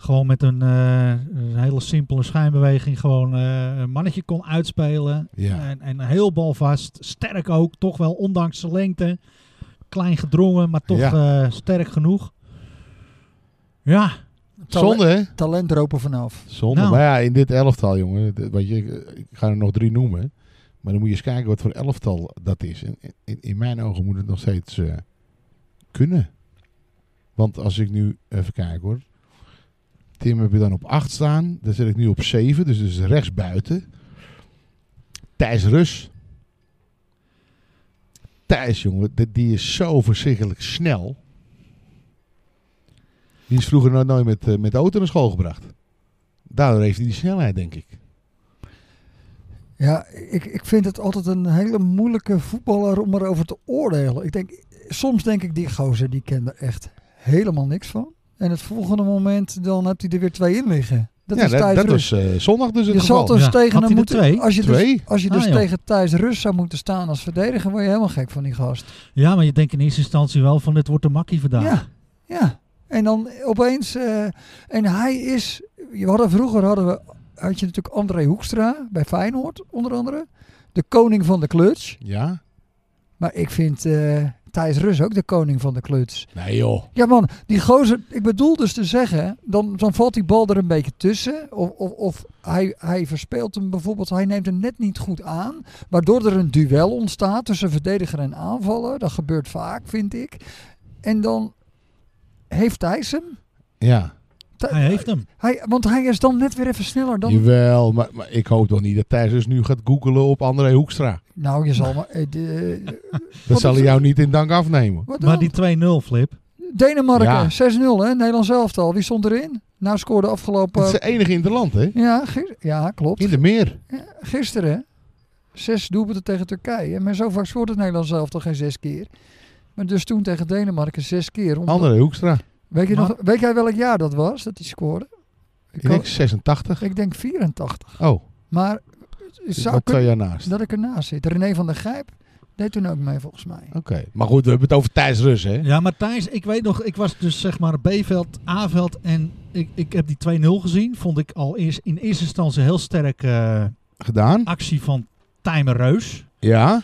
Speaker 2: Gewoon met een, eh, een hele simpele schijnbeweging gewoon eh, een mannetje kon uitspelen.
Speaker 3: Ja.
Speaker 2: En, en heel balvast. Sterk ook, toch wel ondanks zijn lengte. Klein gedrongen, maar toch eh, sterk genoeg. Ja,
Speaker 3: Zonde, hè?
Speaker 1: Talent ropen vanaf.
Speaker 3: Zonde.
Speaker 2: Nou.
Speaker 3: Maar ja, in dit elftal, jongen. d- Weet je, ik- ik ga er nog drie noemen. Maar dan moet je eens kijken wat voor elftal dat is. En in, in mijn ogen moet het nog steeds eh, kunnen. Want als ik nu even kijk hoor. Tim heb je dan op 8 staan. Daar zit ik nu op 7. Dus dus rechts buiten. Thijs Rus. Thijs, jongen, die- die is zo verschrikkelijk snel. Die is vroeger nooit, nooit met, eh, met de auto naar school gebracht. Daardoor heeft hij die snelheid, denk ik.
Speaker 1: Ja, ik, ik vind het altijd een hele moeilijke voetballer om erover te oordelen. Ik denk, soms denk ik, die gozer die kent er echt helemaal niks van. En het volgende moment, dan hebt hij er weer twee in liggen. Dat
Speaker 3: ja,
Speaker 1: is
Speaker 3: dat,
Speaker 1: Thijs
Speaker 3: dat
Speaker 1: Rus.
Speaker 3: was eh, zondag dus het
Speaker 1: je
Speaker 3: geval.
Speaker 1: zal dus
Speaker 2: Ja,
Speaker 1: tegen
Speaker 2: had hij
Speaker 1: hem
Speaker 2: er
Speaker 1: moeten...
Speaker 2: twee?
Speaker 1: Als je
Speaker 3: Twee?
Speaker 1: dus, als je
Speaker 2: Ah,
Speaker 1: dus
Speaker 2: joh.
Speaker 1: tegen Thijs Rus zou moeten staan als verdediger, word je helemaal gek van die gast.
Speaker 2: Ja, maar je denkt in eerste instantie wel van dit wordt de makkie vandaag.
Speaker 1: Ja, ja. En dan opeens... eh, en hij is... We hadden, vroeger hadden we, had je natuurlijk André Hoekstra, bij Feyenoord onder andere. De koning van de kluts.
Speaker 3: Ja?
Speaker 1: Maar ik vind eh, Thijs Rus ook de koning van de kluts.
Speaker 3: Nee joh.
Speaker 1: Ja man, die gozer, ik bedoel dus te zeggen, dan, dan valt die bal er een beetje tussen. Of, of, of hij, hij verspeelt hem bijvoorbeeld, hij neemt hem net niet goed aan. Waardoor er een duel ontstaat tussen verdediger en aanvaller. Dat gebeurt vaak, vind ik. En dan heeft Thijs hem.
Speaker 3: Ja.
Speaker 1: Thij-
Speaker 2: Hij heeft hem.
Speaker 1: hij, want hij is dan net weer even sneller dan...
Speaker 3: Jawel, maar, maar ik hoop toch niet dat Thijs dus nu gaat googelen op André Hoekstra.
Speaker 1: Nou, je zal maar... eh, de-
Speaker 3: Dat
Speaker 1: Wat
Speaker 3: zal
Speaker 1: is
Speaker 3: hij
Speaker 1: dat?
Speaker 3: jou niet in dank afnemen.
Speaker 1: wat
Speaker 2: Maar
Speaker 1: dan?
Speaker 2: die 2-0 flip.
Speaker 1: Denemarken,
Speaker 3: Ja.
Speaker 1: 6-0 hè, Nederland zelf al. Wie stond erin? Nou scoorde afgelopen...
Speaker 3: Het is de enige in het land, hè?
Speaker 1: Ja, gis- ja klopt.
Speaker 3: In de meer.
Speaker 1: Gisteren, zes doelpunten tegen Turkije. Maar zo vaak scoort het Nederland zelf toch geen zes keer. Maar dus toen tegen Denemarken zes keer. Omdat-
Speaker 3: André Hoekstra.
Speaker 1: Weet, je
Speaker 2: Maar-
Speaker 1: nog, weet jij welk jaar dat was dat hij scoorde? Ik,
Speaker 3: Ik denk
Speaker 1: kan-
Speaker 3: 86.
Speaker 1: ik denk 84.
Speaker 3: Oh,
Speaker 1: Maar het
Speaker 3: dus
Speaker 1: zou
Speaker 3: wel twee
Speaker 1: kunnen
Speaker 3: jaar naast. Oké.
Speaker 1: dat ik ernaast zit. René van der Gijp deed toen ook mee volgens mij.
Speaker 3: Maar goed, we hebben het over Thijs Rus, hè?
Speaker 2: Ja, maar Thijs, ik weet nog, ik was dus zeg maar B-veld, A-veld en ik, ik heb die 2-0 gezien. Vond ik al eerst in eerste instantie heel sterk eh,
Speaker 3: Gedaan.
Speaker 2: actie van Timer Reus.
Speaker 3: Ja.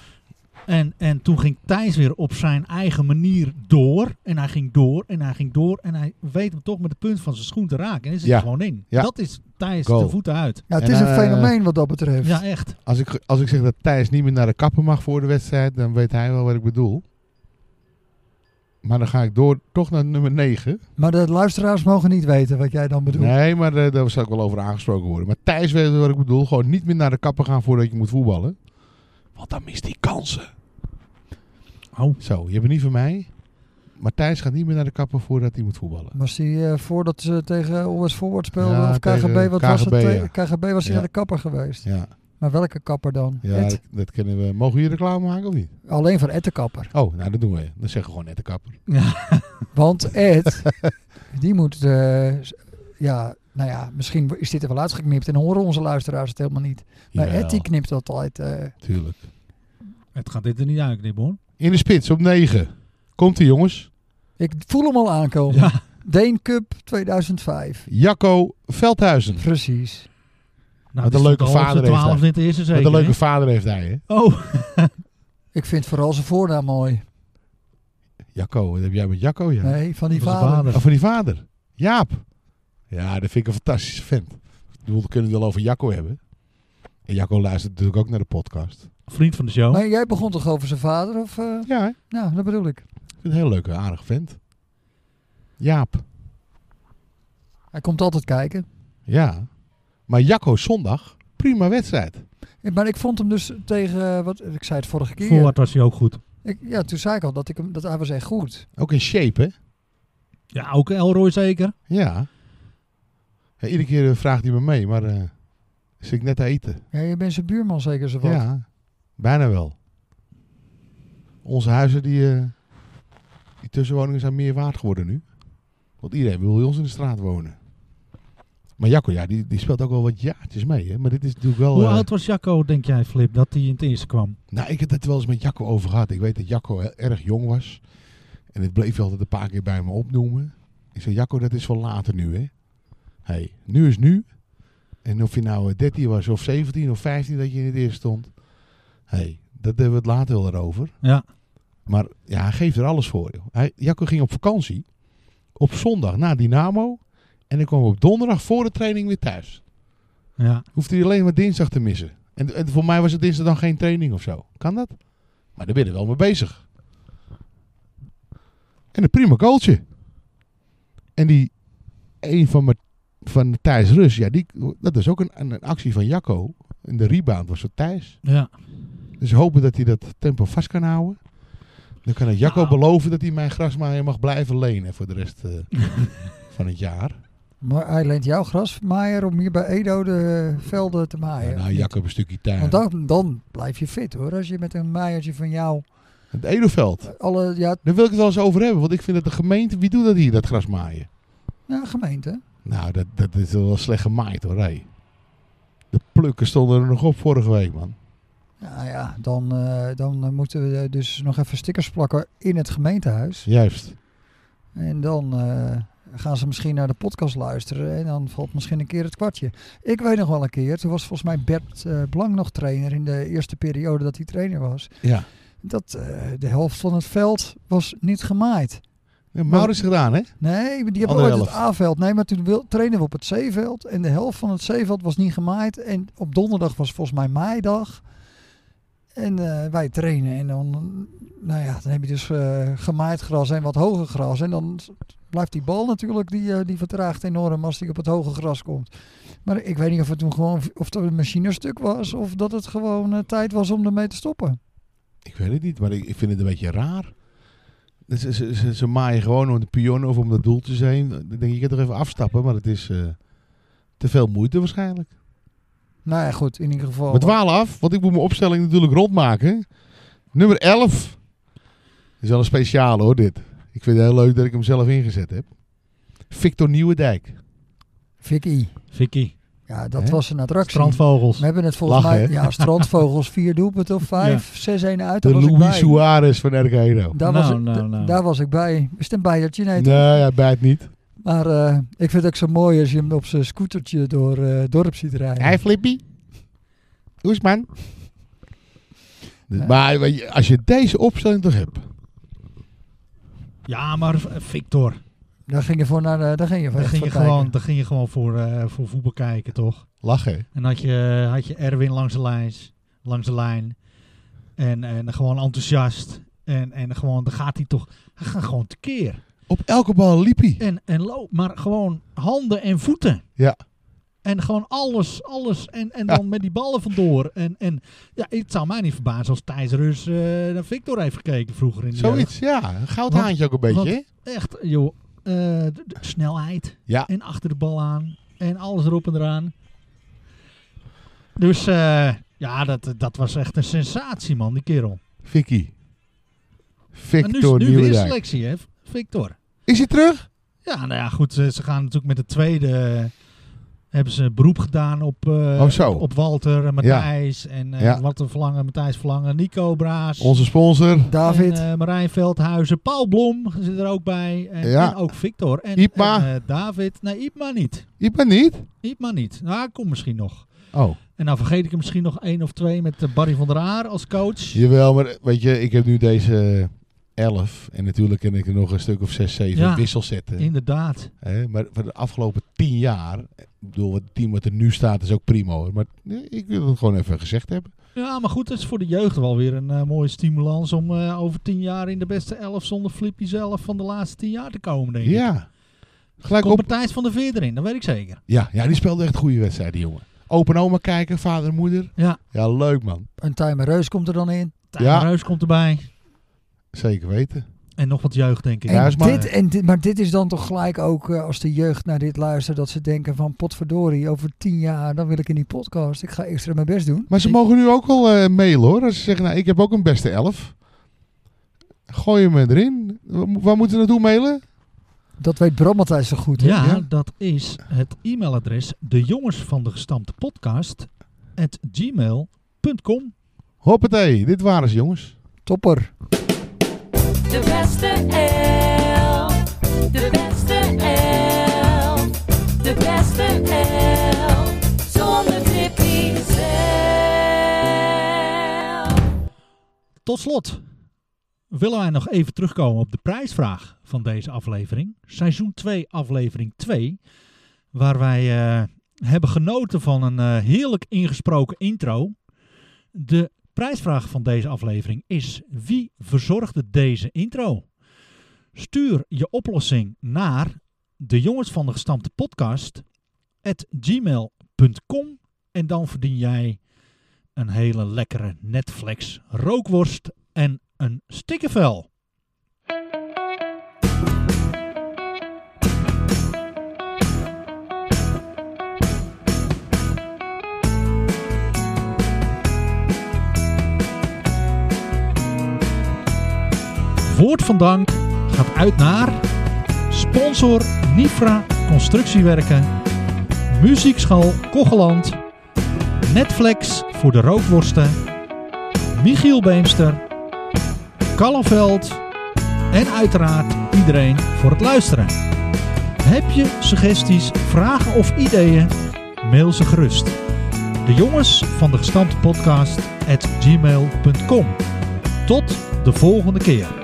Speaker 2: En, en toen ging Thijs weer op zijn eigen manier door. En hij ging door en hij ging door. En hij weet hem toch met de punt van zijn schoen te raken. En is het
Speaker 3: Ja.
Speaker 2: er gewoon in.
Speaker 3: Ja.
Speaker 2: Dat is Thijs
Speaker 3: Goal.
Speaker 2: de voeten uit.
Speaker 1: Ja, het
Speaker 3: En,
Speaker 1: is een
Speaker 3: eh,
Speaker 1: fenomeen wat dat betreft.
Speaker 2: Ja, echt.
Speaker 3: Als ik, als ik zeg dat Thijs niet meer naar de kapper mag voor de wedstrijd, dan weet hij wel wat ik bedoel. Maar dan ga ik door toch naar nummer 9.
Speaker 1: Maar de luisteraars mogen niet weten wat jij dan bedoelt.
Speaker 3: Nee, maar eh, daar zou ik wel over aangesproken worden. Maar Thijs weet wat ik bedoel. Gewoon niet meer naar de kapper gaan voordat je moet voetballen. Want dan mist hij kansen.
Speaker 2: Oh.
Speaker 3: Zo, je bent niet van mij. Maar Thijs gaat niet meer naar de kapper voordat hij moet voetballen.
Speaker 1: Maar Was hij eh, voordat ze tegen OS Forward speelden
Speaker 3: Ja,
Speaker 1: of KGB,
Speaker 3: tegen
Speaker 1: wat was het?
Speaker 3: KGB,
Speaker 1: Tegen KGB was hij
Speaker 3: Ja.
Speaker 1: naar de kapper geweest.
Speaker 3: Ja,
Speaker 1: Maar welke kapper dan?
Speaker 3: ja
Speaker 1: Et-
Speaker 3: dat, dat kennen we. Mogen we hier reclame maken of niet?
Speaker 1: Alleen van Ed de kapper.
Speaker 3: Oh, nou dat doen we. Dan zeggen we gewoon net de kapper.
Speaker 1: Want Ed, die moet, eh, s- ja, nou ja, misschien is dit er wel uitgeknipt en horen onze luisteraars het helemaal niet. Maar
Speaker 3: Jawel,
Speaker 1: Ed die knipt dat altijd. eh.
Speaker 3: Tuurlijk.
Speaker 2: Het gaat dit er niet uitknippen hoor.
Speaker 3: In de spits op 9. Komt ie jongens.
Speaker 1: ik voel hem al aankomen.
Speaker 2: Ja.
Speaker 1: Deen Cup 2005.
Speaker 3: Jacco Veldhuizen.
Speaker 1: Prees.
Speaker 2: Nou,
Speaker 3: een
Speaker 2: die
Speaker 3: leuke
Speaker 2: stond al op
Speaker 3: vader
Speaker 2: zijn
Speaker 3: heeft
Speaker 2: 12
Speaker 3: hij.
Speaker 2: in het eerste
Speaker 3: Wat
Speaker 2: zeker.
Speaker 3: een
Speaker 2: hè?
Speaker 3: leuke vader heeft hij, hè?
Speaker 2: Oh,
Speaker 1: Ik vind vooral zijn voornaam mooi.
Speaker 3: Jacco, wat heb jij met Jacco? Ja.
Speaker 1: Nee, van die
Speaker 2: Dat was
Speaker 1: vader.
Speaker 2: vader.
Speaker 3: Oh, van die vader. Jaap. Ja, dat vind ik een fantastische vent. Ik bedoel, we kunnen het wel over Jacco hebben. En Jacco luistert natuurlijk ook naar de podcast.
Speaker 2: vriend van de show.
Speaker 1: Maar jij begon toch over zijn vader? Of, eh,
Speaker 3: Ja, hè? ik
Speaker 1: nou, dat bedoel ik.
Speaker 3: vind het een heel leuke, aardige vent. Jaap.
Speaker 1: Hij komt altijd kijken.
Speaker 3: Ja. Maar Jacco zondag, prima wedstrijd.
Speaker 1: Ja, Maar ik vond hem dus tegen, eh, wat, ik zei het vorige keer.
Speaker 2: Voorwaarts was hij ook goed.
Speaker 1: Ik, ja, toen zei ik al dat, ik hem, dat hij was echt goed.
Speaker 3: Ook in shape, hè?
Speaker 2: Ja, ook Elroy zeker.
Speaker 3: Ja. Ja, iedere keer eh, vraagt hij me mee, maar eh zit ik net te eten.
Speaker 1: Ja, je bent zijn buurman zeker zo wat.
Speaker 3: Ja, bijna wel. Onze huizen, die, eh, die tussenwoningen zijn meer waard geworden nu. Want iedereen wil bij ons in de straat wonen. Maar Jacco, ja, die, die speelt ook al wat jaartjes mee. Hè? Maar dit is natuurlijk wel...
Speaker 2: Hoe
Speaker 3: eh,
Speaker 2: oud was Jacco, denk jij, Flip, dat hij in het eerste kwam?
Speaker 3: nou, ik heb het wel eens met Jacco over gehad. Ik weet dat Jacco he- erg jong was. En het bleef hij altijd een paar keer bij me opnoemen. Ik zei, Jacco, dat is wel later nu, hè? Hey, nu is nu. En of je nou eh, 13 was of 17 of 15 dat je in het eerst stond. hey, dat hebben we het later wel erover.
Speaker 2: Ja.
Speaker 3: Maar ja, hij geeft er alles voor. Joh. Hij, Jacco ging op vakantie. Op zondag naar Dynamo. En dan kwam hij op donderdag voor de training weer thuis.
Speaker 2: Ja.
Speaker 3: Hoefde hij alleen maar dinsdag te missen. En, en voor mij was het dinsdag dan geen training of zo. Kan dat? Maar daar ben je wel mee bezig. En een prima goaltje. En die een van, Mat- van Thijs Rus, ja, die, dat is ook een, een actie van Jacco. In de rebound was het Thijs.
Speaker 2: Ja.
Speaker 3: Dus hopen dat hij dat tempo vast kan houden. Dan kan ik Jacco
Speaker 2: Nou.
Speaker 3: beloven dat hij mijn grasmaaier mag blijven lenen voor de rest eh, van het jaar.
Speaker 1: Maar hij leent jouw grasmaaier om hier bij Edo de eh, velden te
Speaker 3: Ja,
Speaker 1: maaien.
Speaker 3: nou, Jacco een stukje tuin.
Speaker 1: Want dan, dan blijf je fit hoor. Als je met een maaiertje van jou
Speaker 3: Het Edoveld.
Speaker 1: alle ja,
Speaker 3: Daar wil ik het wel eens over hebben. Want ik vind dat de gemeente... Wie doet dat hier, dat grasmaaien?
Speaker 1: ja, gemeente.
Speaker 3: Nou, dat, dat is wel slecht gemaaid hoor, hé. De plukken stonden er nog op vorige week, man.
Speaker 1: Ja, ja dan, eh, dan eh, moeten we eh, dus nog even stickers plakken in het gemeentehuis.
Speaker 3: Juist.
Speaker 1: En dan eh, gaan ze misschien naar de podcast luisteren. En dan valt misschien een keer het kwartje. Ik weet nog wel een keer. Toen was volgens mij Bert eh, Blank nog trainer. In de eerste periode dat hij trainer was.
Speaker 3: Ja.
Speaker 1: Dat eh, de helft van het veld was niet gemaaid.
Speaker 3: Ja, Maurits gedaan, hè?
Speaker 1: Nee, die hebben
Speaker 3: Andere
Speaker 1: ooit het
Speaker 3: helft.
Speaker 1: A-veld. Nee, maar toen wil, trainen we op het zeeveld. En de helft van het zeeveld was niet gemaaid. En op donderdag was volgens mij maaidag. En eh, wij trainen. En dan, nou ja, dan heb je dus eh, gemaaid gras en wat hoger gras. En dan s- blijft die bal natuurlijk, die, eh, die vertraagt enorm als die op het hoge gras komt. Maar ik weet niet of het toen gewoon, of dat een machine stuk was. Of dat het gewoon eh, tijd was om ermee te stoppen.
Speaker 3: Ik weet het niet, maar ik, ik vind het een beetje raar. Ze, ze, ze, ze maaien gewoon om de pion of om dat doeltje heen. Dan denk ik, ik kan toch even afstappen, maar het is eh, te veel moeite waarschijnlijk.
Speaker 1: Nou ja, goed, in ieder geval.
Speaker 3: We dwalen af, want ik moet mijn opstelling natuurlijk rondmaken. Nummer 11. Is wel een speciale hoor, dit. Ik vind het heel leuk dat ik hem zelf ingezet heb. Victor Nieuwendijk.
Speaker 1: Vicky,
Speaker 2: Vicky.
Speaker 1: ja, dat
Speaker 3: Hè?
Speaker 1: was een attractie.
Speaker 2: Strandvogels.
Speaker 1: We hebben het volgens
Speaker 3: Lachen,
Speaker 1: mij,
Speaker 3: hè?
Speaker 1: ja, strandvogels, vier doelpunten of vijf, zes één uit. Daar
Speaker 3: De
Speaker 1: was ik bij.
Speaker 3: Luis Suarez van RK Edo.
Speaker 1: Daar,
Speaker 2: Nou,
Speaker 1: was ik,
Speaker 2: nou,
Speaker 1: d-
Speaker 2: nou.
Speaker 1: daar was ik bij. Is het een bijertje? Nee.
Speaker 3: Nee,
Speaker 1: toch?
Speaker 3: ja, bij het niet.
Speaker 1: Maar eh, ik vind het ook zo mooi als je hem op zijn scootertje door eh, het dorp ziet rijden.
Speaker 3: Hij Flippy. Oesman.
Speaker 1: Nee.
Speaker 3: Maar weet je, als je deze opstelling toch hebt.
Speaker 2: Ja, maar eh, Victor.
Speaker 1: Daar ging je voor naar de, daar ging je, voor
Speaker 2: Daar
Speaker 1: echt
Speaker 2: ging je
Speaker 1: voor kijken.
Speaker 2: gewoon, daar ging je gewoon voor, eh, voor voetbal kijken, toch?
Speaker 3: Lachen.
Speaker 2: En had je, had je Erwin langs de, lijns, langs de lijn. En, en gewoon enthousiast. En, en gewoon, dan gaat hij toch... Hij gaat gewoon tekeer.
Speaker 3: Op elke bal liep hij.
Speaker 2: En, en loop, maar gewoon handen en voeten.
Speaker 3: Ja.
Speaker 2: En gewoon alles, alles. En, en
Speaker 3: Ja.
Speaker 2: dan met die ballen vandoor. En, en ja, het zou mij niet verbazen als Thijs Rus eh, naar Victor heeft gekeken vroeger in de
Speaker 3: Zoiets, ja. Een goud haantje ook een beetje.
Speaker 2: want-
Speaker 3: hè?
Speaker 2: jeugd. Echt, joh. eh, de, de snelheid.
Speaker 3: Ja.
Speaker 2: En achter de bal aan. En alles erop en eraan. Dus eh, ja, dat, dat was echt een sensatie, man, die kerel.
Speaker 3: Vicky.
Speaker 2: En nu,
Speaker 3: Victor
Speaker 2: nu weer
Speaker 3: Nieuwendijk.
Speaker 2: selectie, hè, Victor.
Speaker 3: Is hij terug?
Speaker 2: Ja, nou ja, goed. Ze, ze gaan natuurlijk met de tweede. eh, hebben ze beroep gedaan op, eh,
Speaker 3: Oh, zo.
Speaker 2: op Walter, en Matthijs en eh,
Speaker 3: Ja.
Speaker 2: Walter Verlangen, Matthijs Verlangen, Nico Braas.
Speaker 3: Onze sponsor.
Speaker 1: David,
Speaker 2: En, eh, Marijn Veldhuizen, Paul Blom zit er ook bij. En,
Speaker 3: Ja.
Speaker 2: en ook Victor. En,
Speaker 3: Iepma.
Speaker 2: en, eh, David. Nee, Iepma niet.
Speaker 3: Ik ben niet.
Speaker 2: Iepma niet. Nou, hij komt misschien nog.
Speaker 3: Oh.
Speaker 2: En dan vergeet ik hem misschien nog één of twee met eh, Barry van der Haar als coach.
Speaker 3: Jawel, maar weet je, ik heb nu deze 11. En natuurlijk kan ik er nog een stuk of 6, 7
Speaker 2: Ja.
Speaker 3: wisselzetten.
Speaker 2: Inderdaad.
Speaker 3: Hè, maar voor de afgelopen tien jaar, ik bedoel, het team wat er nu staat is ook primo. hoor, Maar eh, ik wil het gewoon even gezegd hebben.
Speaker 2: Ja, maar goed, dat is voor de jeugd wel weer een eh, mooie stimulans om eh, over tien jaar in de beste elf zonder Flippy zelf van de laatste tien jaar te komen, denk ik.
Speaker 3: Ja. Gelijk
Speaker 2: Komt
Speaker 3: op.
Speaker 2: Matthijs van der Veer erin, dat weet ik zeker.
Speaker 3: Ja, ja, die speelde echt goede wedstrijden, jongen. Open oma kijken, vader en moeder.
Speaker 2: Ja.
Speaker 3: Ja, leuk man.
Speaker 1: een timer Reus komt er dan in.
Speaker 2: Tijn
Speaker 3: Ja.
Speaker 2: Reus komt erbij.
Speaker 3: Zeker weten.
Speaker 2: En nog wat jeugd, denk ik.
Speaker 1: En
Speaker 3: Ja, is maar-
Speaker 1: dit, en dit, maar dit is dan toch gelijk ook eh, als de jeugd naar dit luistert. Dat ze denken van potverdorie, over tien jaar dan wil ik in die podcast. Ik ga extra mijn best doen.
Speaker 3: Maar ze
Speaker 2: Ik-
Speaker 3: mogen nu ook al eh, mailen hoor. Als ze zeggen, nou, ik heb ook een beste elf. Gooi hem erin. Waar mo- Waar moeten we naartoe mailen?
Speaker 1: Dat weet Bram altijd zo goed. hè?
Speaker 2: ja,
Speaker 3: ja.
Speaker 2: dat is het e-mailadres de jongens van de gestampte podcast at gmail.com.
Speaker 3: Hoppatee, dit waren ze jongens.
Speaker 1: Topper.
Speaker 7: De beste elf, de beste elf, de beste elf, zonder Tippy zelf.
Speaker 2: Tot slot willen wij nog even terugkomen op de prijsvraag van deze aflevering. Seizoen 2, aflevering 2. Waar wij eh, hebben genoten van een eh, heerlijk ingesproken intro. De prijsvraag van deze aflevering is: wie verzorgde deze intro? Stuur je oplossing naar de jongens van de gestampte podcast at gmail.com en dan verdien jij een hele lekkere Netflix rookworst en een stikkenvel. Woord van dank gaat uit naar sponsor Nifra Constructiewerken, Muziekschool Kogeland, Netflix voor de rookworsten, Michiel Beemster, Kallenveld en uiteraard iedereen voor het luisteren. Heb je suggesties, vragen of ideeën? Mail ze gerust. De jongens van de gestampte podcast at gmail.com. Tot de volgende keer.